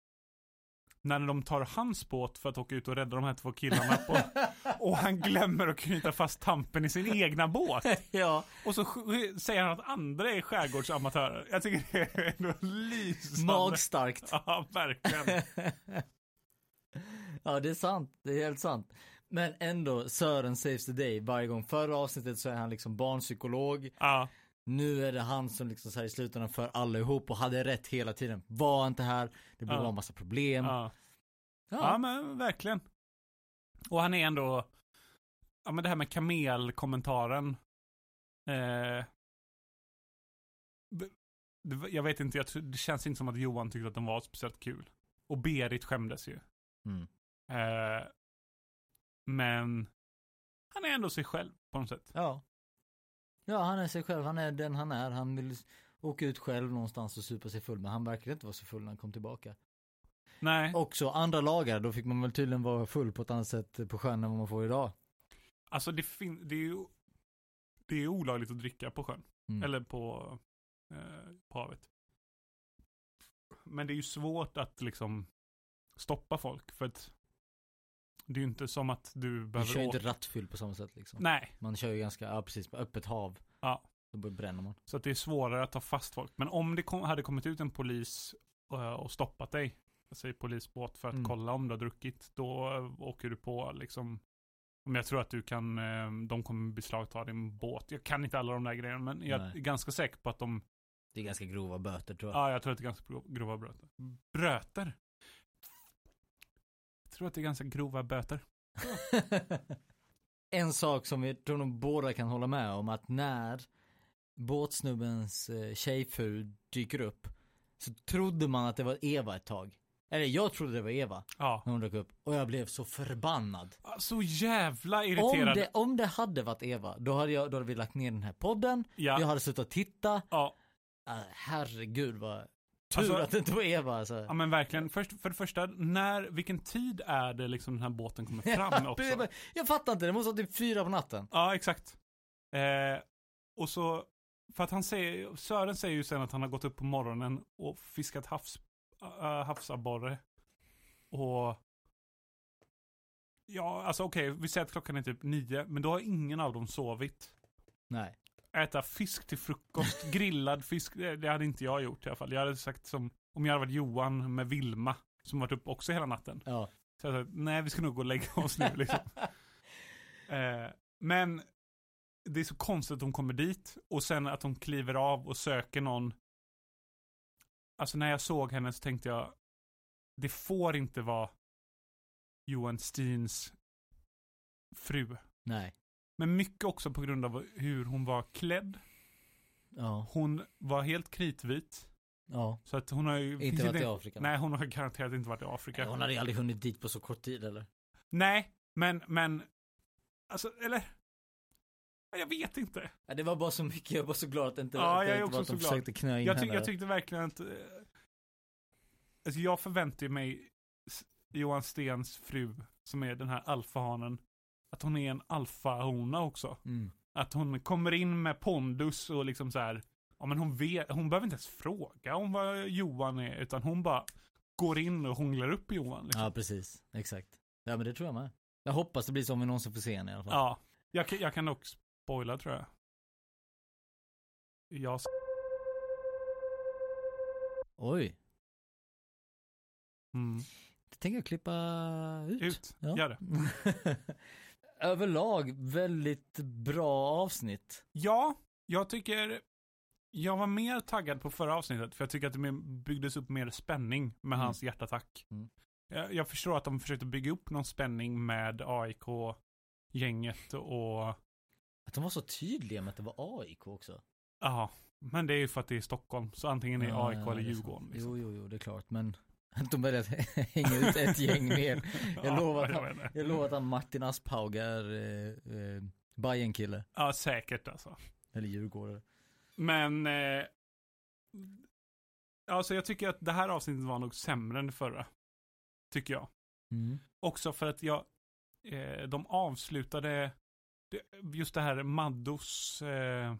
B: När de tar hans båt för att åka ut och rädda de här två killarna på, och han glömmer att knyta fast tampen i sin egna båt.
A: ja,
B: Och så sk- säger han att andra är skärgårdsamatörer. Jag tycker det är ändå lysande.
A: magstarkt.
B: Ja, verkligen.
A: ja, det är sant. Det är helt sant. Men ändå, Sören saves the day varje gång. Förra avsnittet så är han liksom barnpsykolog.
B: Ja,
A: Nu är det han som liksom så här i slutändan för allihop och hade rätt hela tiden. Var inte här, det blir
B: Ja.
A: bara en massa problem.
B: ja. ja
A: Ja.
B: men verkligen. Och han är ändå, ja men det här med kamelkommentaren. Eh, b- det, var- jag vet inte, jag, tror- det känns inte som att Johan tyckte att den var speciellt kul. Och Berit skämdes ju.
A: Mm.
B: Eh, men han är ändå sig själv på något sätt.
A: Ja. Ja, han är sig själv. Han är den han är. Han vill åka ut själv någonstans och supa sig full. Men han verkar inte vara så full när han kom tillbaka.
B: Nej,
A: Också andra lagar, då fick man väl tydligen vara full på ett annat sätt på sjön än vad man får idag.
B: alltså det, fin- det är ju det är olagligt att dricka på sjön.
A: Mm.
B: Eller på, eh, på havet. Men det är ju svårt att liksom stoppa folk för att det är ju inte som att du
A: du
B: behöver
A: kör ju inte
B: åka-
A: rattfyll på samma sätt liksom.
B: Nej,
A: Man kör ju ganska, ja precis, på öppet hav.
B: Ja.
A: Då bara bränner man.
B: så att det är svårare att ta fast folk. Men om det kom, hade kommit ut en polis eh, och stoppat dig, säg polisbåt för att
A: Mm.
B: kolla om du har druckit, då eh, åker du på liksom men jag tror att du kan, eh, de kommer beslagta din båt. Jag kan inte alla de där grejerna, men jag
A: Nej.
B: är ganska säker på att de
A: Det är ganska grova böter tror jag.
B: Ja, jag tror att det är ganska gro- grova bröter. Bröter? Jag tror att det är ganska grova böter.
A: en sak som vi tror nog båda kan hålla med om att när båtsnubbens eh, tjejfru dyker upp så trodde man att det var Eva ett tag. Eller jag trodde det var Eva
B: Ja.
A: när hon dök upp och jag blev så förbannad.
B: Ah, Så jävla
A: Om
B: irriterad.
A: det, om det hade varit Eva, då hade, jag, då hade vi lagt ner den här podden,
B: Ja.
A: jag
B: Ja.
A: hade suttit och titta,
B: Ja.
A: Ah, herregud vad tur
B: Alltså-
A: att det inte var Eva alltså.
B: men verkligen. Först, för det första, när, vilken tid är det liksom den här båten kommer fram också?
A: Jag bara- Jag fattar inte, det måste vara typ fyra på natten.
B: Ja, exakt. Eh, och så, för att han säger, Sören säger ju sen att han har gått upp på morgonen och fiskat havs, äh, havsabborre. Och, ja, alltså okej, vi säger att klockan är typ nio, men då har ingen av dem sovit.
A: Nej.
B: Äta fisk till frukost, grillad fisk, det, det hade inte jag gjort i alla fall. Jag hade sagt som, om jag hade varit Johan med Vilma, som varit uppe också hela natten.
A: Ja.
B: Så jag sa, nej vi ska nog gå och lägga oss nu liksom. eh, men det är så konstigt att de kommer dit och sen att de kliver av och söker någon. Alltså när jag såg henne så tänkte jag, det får inte vara Johan Steens fru.
A: Nej.
B: Men mycket också på grund av hur hon var klädd.
A: Ja.
B: Hon var helt kritvit.
A: Ja.
B: Så att hon har ju...
A: Inte varit i Afrika.
B: Nej, hon har garanterat inte varit i Afrika.
A: Nej, Hon hade ju aldrig hunnit dit på så kort tid eller?
B: Nej, men, men, alltså, eller? Ja, Jag vet inte.
A: Ja, det var bara så mycket, jag var så glad att det inte,
B: Ja,
A: att det
B: jag är
A: inte
B: också
A: var att de
B: så glad.
A: försökte knö in
B: Jag, ty-
A: henne.
B: jag tyckte verkligen att, eh, alltså jag förväntar ju mig S- Johan Stens fru, som är den här alfahanen, att hon är en alfahona också.
A: mm.
B: Att hon kommer in med pondus och liksom så här, ja men hon vet, hon behöver inte ens fråga om vad Johan är, utan hon bara går in och hånglar upp Johan. Liksom.
A: Ja, precis. Exakt. Ja, men det tror jag med. Jag hoppas det blir så om vi någonsin får se henne i alla fall.
B: Ja, jag, kan- jag kan dock spoila tror jag. Jag
A: Oj,
B: Mm.
A: det tänker jag klippa ut.
B: Ut,
A: Ja.
B: gör det.
A: Överlag väldigt bra avsnitt.
B: Ja, jag tycker... Jag var mer taggad på förra avsnittet, för jag tycker att det mer- byggdes upp mer spänning med
A: Mm.
B: hans hjärtattack.
A: Mm.
B: Jag, jag förstår att de försökte bygga upp någon spänning med AIK-gänget och...
A: Att de var så tydliga med att det var AIK också.
B: Ja, men det är ju för att det är Stockholm, så antingen är det
A: Ja,
B: AIK
A: ja,
B: eller
A: det är
B: Djurgården.
A: sant.
B: Liksom.
A: Jo, jo, jo, det är klart, men de började hänga ut ett gäng mer. Jag lovar att
B: jag
A: han-
B: vet inte.
A: Jag lovar att han Martin Aspaug är eh, eh, Bajenkille,
B: Ja, säkert alltså.
A: eller djurgårdare.
B: Men... Eh, alltså jag tycker att det här avsnittet var nog sämre än det förra. Tycker jag.
A: Mm.
B: Också för att jag... Eh, de avslutade... det- Just det här Maddos eh,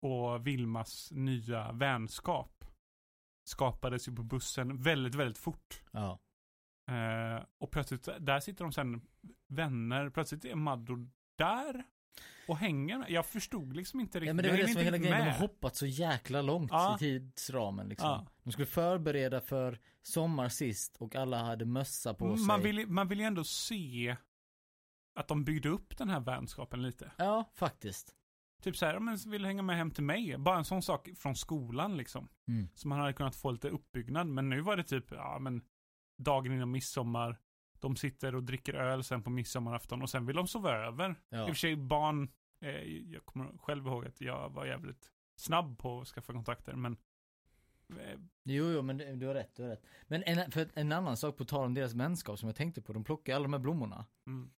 B: och Vilmas nya vänskap skapades ju på bussen väldigt, väldigt fort.
A: Ja.
B: Eh, och plötsligt, där sitter de sen vänner. Plötsligt är Maddo där och hänger med. Jag förstod liksom inte riktigt.
A: ja, men det var
B: Jag
A: det som var
B: hängde
A: hela
B: inte
A: grejen, de
B: med.
A: har hoppat så jäkla långt
B: Ja.
A: i tidsramen liksom.
B: Ja.
A: De skulle förbereda för sommar sist och alla hade mössa på sig.
B: Man vill, ju- man vill ju ändå se att de byggde upp den här vänskapen lite.
A: Ja, faktiskt.
B: Typ så här, om ens vill hänga med hem till mig. Bara en sån sak från skolan liksom.
A: Mm.
B: Så man hade kunnat få lite uppbyggnad. Men nu var det typ, ja men dagen innan midsommar. De sitter och dricker öl sen på midsommarafton och sen vill de sova över. I och
A: Ja.
B: för sig barn, eh, jag kommer själv ihåg att jag var jävligt snabb på att skaffa kontakter men eh,
A: Jo, jo, men du du har rätt, du har rätt. Men en, för en annan sak på tal om deras vänskap som jag tänkte på, de plockar alla de här blommorna.
B: mm.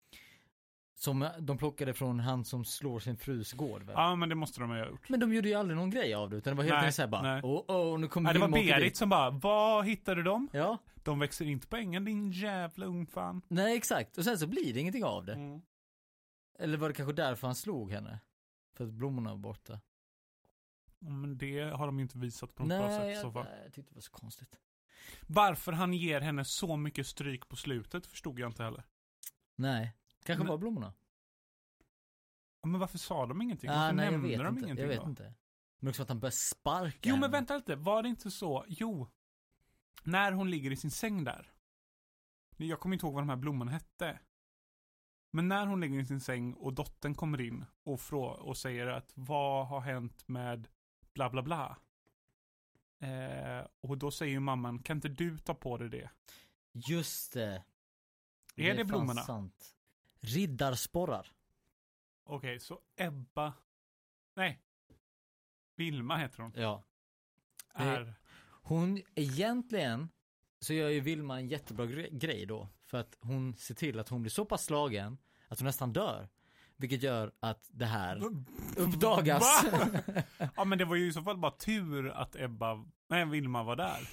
A: Som de plockade från han som slår sin frus gård väl?
B: ja men det måste de ha gjort.
A: Men de gjorde ju aldrig någon grej av det utan det var helt
B: Nej,
A: enkelt såhär bara,
B: nej.
A: oh, oh, nu kommer
B: Nej, det var
A: Vilma åka
B: Berit
A: dit."
B: som bara, vad hittade de?
A: Ja,
B: De växer inte på ängen din jävla ungfan.
A: nej exakt. Och sen så blir det ingenting av det.
B: Mm.
A: Eller var det kanske därför han slog henne? För att blommorna var borta.
B: Men det har de ju inte visat på något bra
A: nej,
B: sätt i
A: jag,
B: så fall.
A: jag tyckte det var så konstigt.
B: Varför han ger henne så mycket stryk på slutet förstod jag inte heller.
A: Nej, kanske
B: Men-
A: var blommorna.
B: Ja, Men varför sa de ingenting? Varför
A: Ah, nej, jag
B: nämnde
A: vet
B: de
A: inte.
B: ingenting
A: Jag vet
B: då?
A: inte. Men också att han började sparka
B: Jo men
A: henne.
B: vänta lite, var det inte så, jo. När hon ligger i sin säng där. Jag kommer inte ihåg vad de här blommorna hette. Men när hon ligger i sin säng och dottern kommer in och, frå- och säger att vad har hänt med bla bla bla. Eh, och då säger ju mamman, kan inte du ta på dig det?
A: Just det.
B: Är det,
A: fan
B: blommorna?
A: Sant. Riddarsporrar.
B: Okej, så Ebba, nej. Vilma heter hon.
A: Ja. Det-
B: Är,
A: Hon, egentligen så gör ju Vilma en jättebra gre- grej då. För att hon ser till att hon blir så pass slagen att hon nästan dör. Vilket gör att det här uppdagas.
B: Va? ja men det var ju i så fall bara tur att Ebba, nej Vilma var där.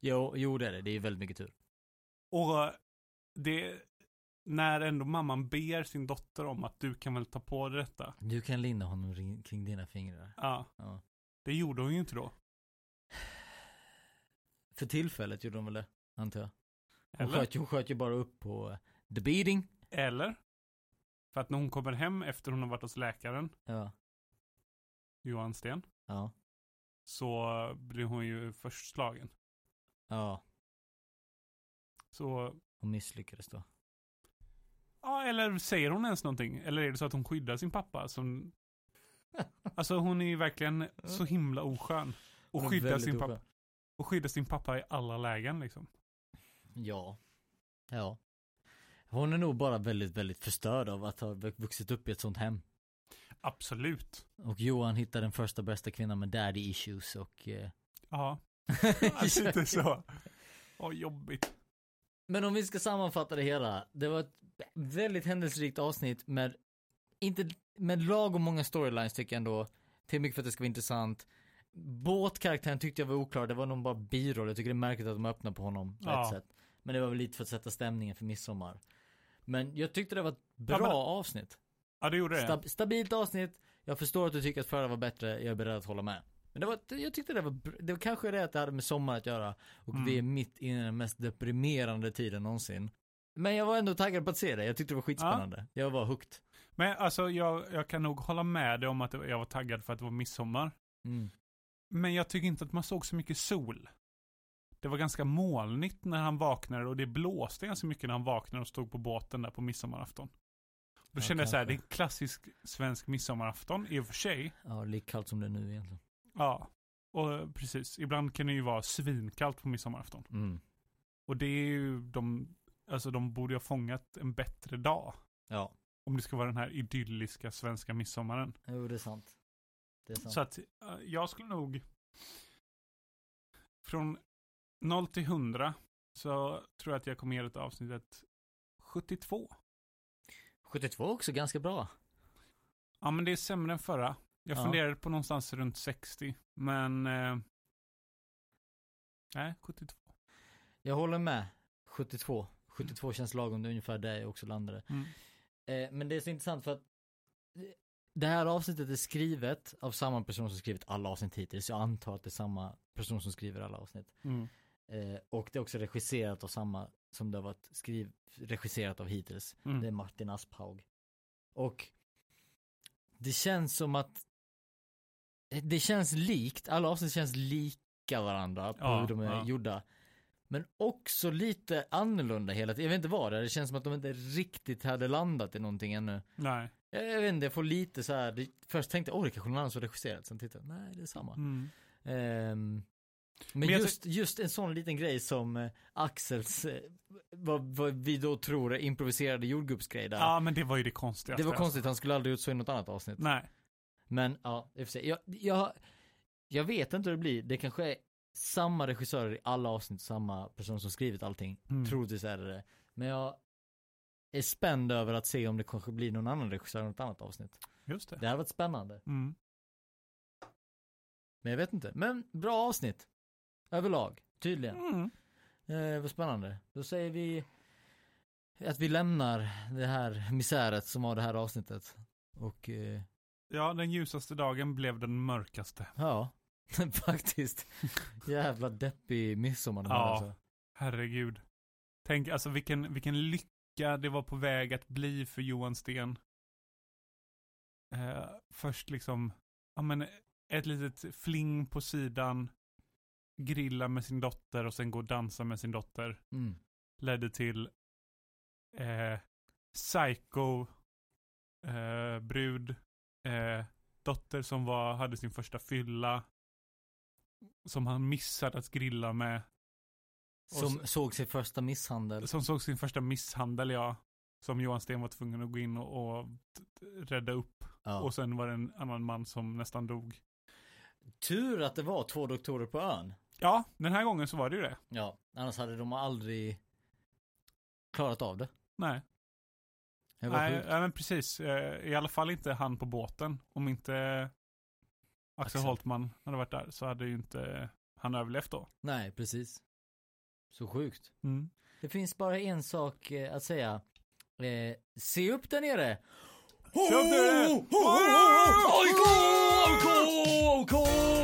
A: jo, jo det är det. Det är väldigt mycket tur.
B: Och det, när ändå mamman ber sin dotter om att du kan väl ta på dig detta.
A: Du kan linda honom ring- kring dina fingrar.
B: Ja.
A: Ja.
B: Det gjorde hon ju inte då.
A: För tillfället gjorde de väl det, antar jag. Hon
B: Eller?
A: sköt, ju- hon sköt ju bara upp på eh, the beating.
B: Eller? För att när hon kommer hem efter hon har varit hos läkaren,
A: Ja.
B: Johan Sten,
A: Ja.
B: så blir hon ju först slagen.
A: Ja.
B: Så,
A: Hon misslyckades då.
B: ja eller säger hon ens någonting? Eller är det så att hon skyddar sin pappa som... Alltså hon är ju verkligen så himla oskön. Och
A: Hon är
B: skyddar
A: väldigt
B: sin pappa.
A: oskön.
B: Och skyddar sin pappa i alla lägen liksom.
A: Ja. Ja. Hon är nog bara väldigt, väldigt förstörd av att ha vuxit upp i ett sånt hem.
B: Absolut.
A: Och Johan hittar den första bästa kvinnan med daddy issues och... eh,
B: Ja. Alltså inte så. Åh, jobbigt.
A: Men om vi ska sammanfatta det hela. Det var ett väldigt händelserikt avsnitt med, inte, med lagom många storylines tycker jag ändå. Till mycket för att det ska vara intressant. Båtkaraktären tyckte jag var oklar, det var nog bara biroll. Jag tycker det är märkligt att de öppnar på honom på
B: Ja.
A: ett sätt. Men det var väl lite för att sätta stämningen för midsommar. Men jag tyckte det var ett bra
B: Ja, men-
A: avsnitt.
B: Ja, det gjorde det.
A: Stab- stabilt avsnitt. Jag förstår att du tycker att förra var bättre, jag är beredd att hålla med. Men det var, jag tyckte det var, br- det var kanske det att det hade med sommar att göra. Och
B: Mm.
A: vi är mitt inne i den mest deprimerande tiden någonsin. Men jag var ändå taggad på att se det, jag tyckte det var skitspännande. Jag var hooked.
B: Men alltså, jag, jag kan nog hålla med dig om att jag var taggad för att det var midsommar.
A: Mm.
B: Men jag tycker inte att man såg så mycket sol. Det var ganska molnigt när han vaknade och det blåste ganska mycket när han vaknade och stod på båten där på midsommarafton. Då
A: Ja,
B: kände jag så här, det är
A: kanske.
B: klassisk svensk midsommarafton i och för sig.
A: Ja, lika kallt som det är nu egentligen.
B: Ja, och precis. Ibland kan det ju vara svinkallt på midsommarafton.
A: Mm.
B: Och det är ju de, alltså de borde ju ha fångat en bättre dag.
A: Ja,
B: Om det ska vara den här idylliska svenska midsommaren.
A: jo det är sant. Det är sant.
B: Så att eh, jag skulle nog från 0 till 100 så tror jag att jag kommer ge det avsnittet 72.
A: 72 är också ganska bra.
B: Ja men det är sämre än förra. Jag
A: Ja.
B: funderade på någonstans runt 60. Men... Eh, nej, 72.
A: Jag håller med. 72. 72 känns lagom, det är ungefär där jag också landade.
B: Mm.
A: Eh, men det är så intressant för att eh, det här avsnittet är skrivet av samma person som skrivit alla avsnitt hittills. Jag antar att det är samma person som skriver alla avsnitt.
B: Mm.
A: Eh, och det är också regisserat av samma som det har varit skriv, regisserat av hittills.
B: Mm.
A: Det är Martin Asphaug. Och det känns som att det känns likt, alla avsnitt känns lika varandra på
B: Ja,
A: hur de är
B: ja.
A: gjorda. Men också lite annorlunda hela tiden. Jag vet inte vad det är, det känns som att de inte riktigt hade landat i någonting ännu.
B: Nej.
A: Jag, jag vet inte, jag får lite så här. det- först tänkte jag, åh det kanske är någon annan som har regisserat, sen tittade jag, nej det är samma.
B: Mm.
A: Ehm, men
B: Men jag
A: just, just en sån liten grej som eh, Axels, eh, vad, vad vi då tror är improviserade jordgubbsgrej där.
B: Ja men det var ju det konstigaste.
A: Det var konstigt, han skulle aldrig gjort så i något annat avsnitt.
B: Nej.
A: Men ja, i och för sig. Jag, jag, jag vet inte hur det blir. Det kanske är samma regissörer i alla avsnitt, samma person som skrivit allting.
B: Mm.
A: Troligtvis är det det. Men jag är spänd över att se om det kanske blir någon annan regissör i något annat avsnitt.
B: Just det.
A: Det hade varit spännande.
B: Mm.
A: Men jag vet inte. Men bra avsnitt. Överlag, tydligen.
B: Mm.
A: Eh, vad spännande. Då säger vi att vi lämnar det här misäret som var det här avsnittet. Och eh,
B: Ja, den ljusaste dagen blev den mörkaste.
A: Ja, faktiskt. Jävla deppig midsommar de
B: Ja.
A: här alltså.
B: Herregud. Tänk alltså vilken, vilken lycka det var på väg att bli för Johan Sten. Eh, först liksom, ja men ett litet fling på sidan, grilla med sin dotter och sen gå och dansa med sin dotter.
A: Mm.
B: Ledde till eh, psycho eh, brud, eh, dotter som var, hade sin första fylla, som han missade att grilla med. Och
A: Som såg sin första misshandel.
B: Som såg sin första misshandel, ja. Som Johan Sten var tvungen att gå in och, och t- t- rädda upp.
A: Ja.
B: Och sen var det en annan man som nästan dog.
A: tur att det var två doktorer på ön.
B: Ja, den här gången så var det ju det.
A: Ja, annars hade de aldrig klarat av det.
B: Nej,
A: Det var
B: nej,
A: sjukt.
B: nej men precis. Eh, I alla fall inte han på båten. Om inte Axel
A: Axel.
B: Holtman hade varit där så hade ju inte han överlevt då.
A: Nej, precis. Så sjukt.
B: Mm.
A: Det finns bara en sak eh, att säga. Eh, se upp där nere!
B: Se upp där nere!
A: Ho, ho, ho, ho, ho! AIK! AIK! AIK!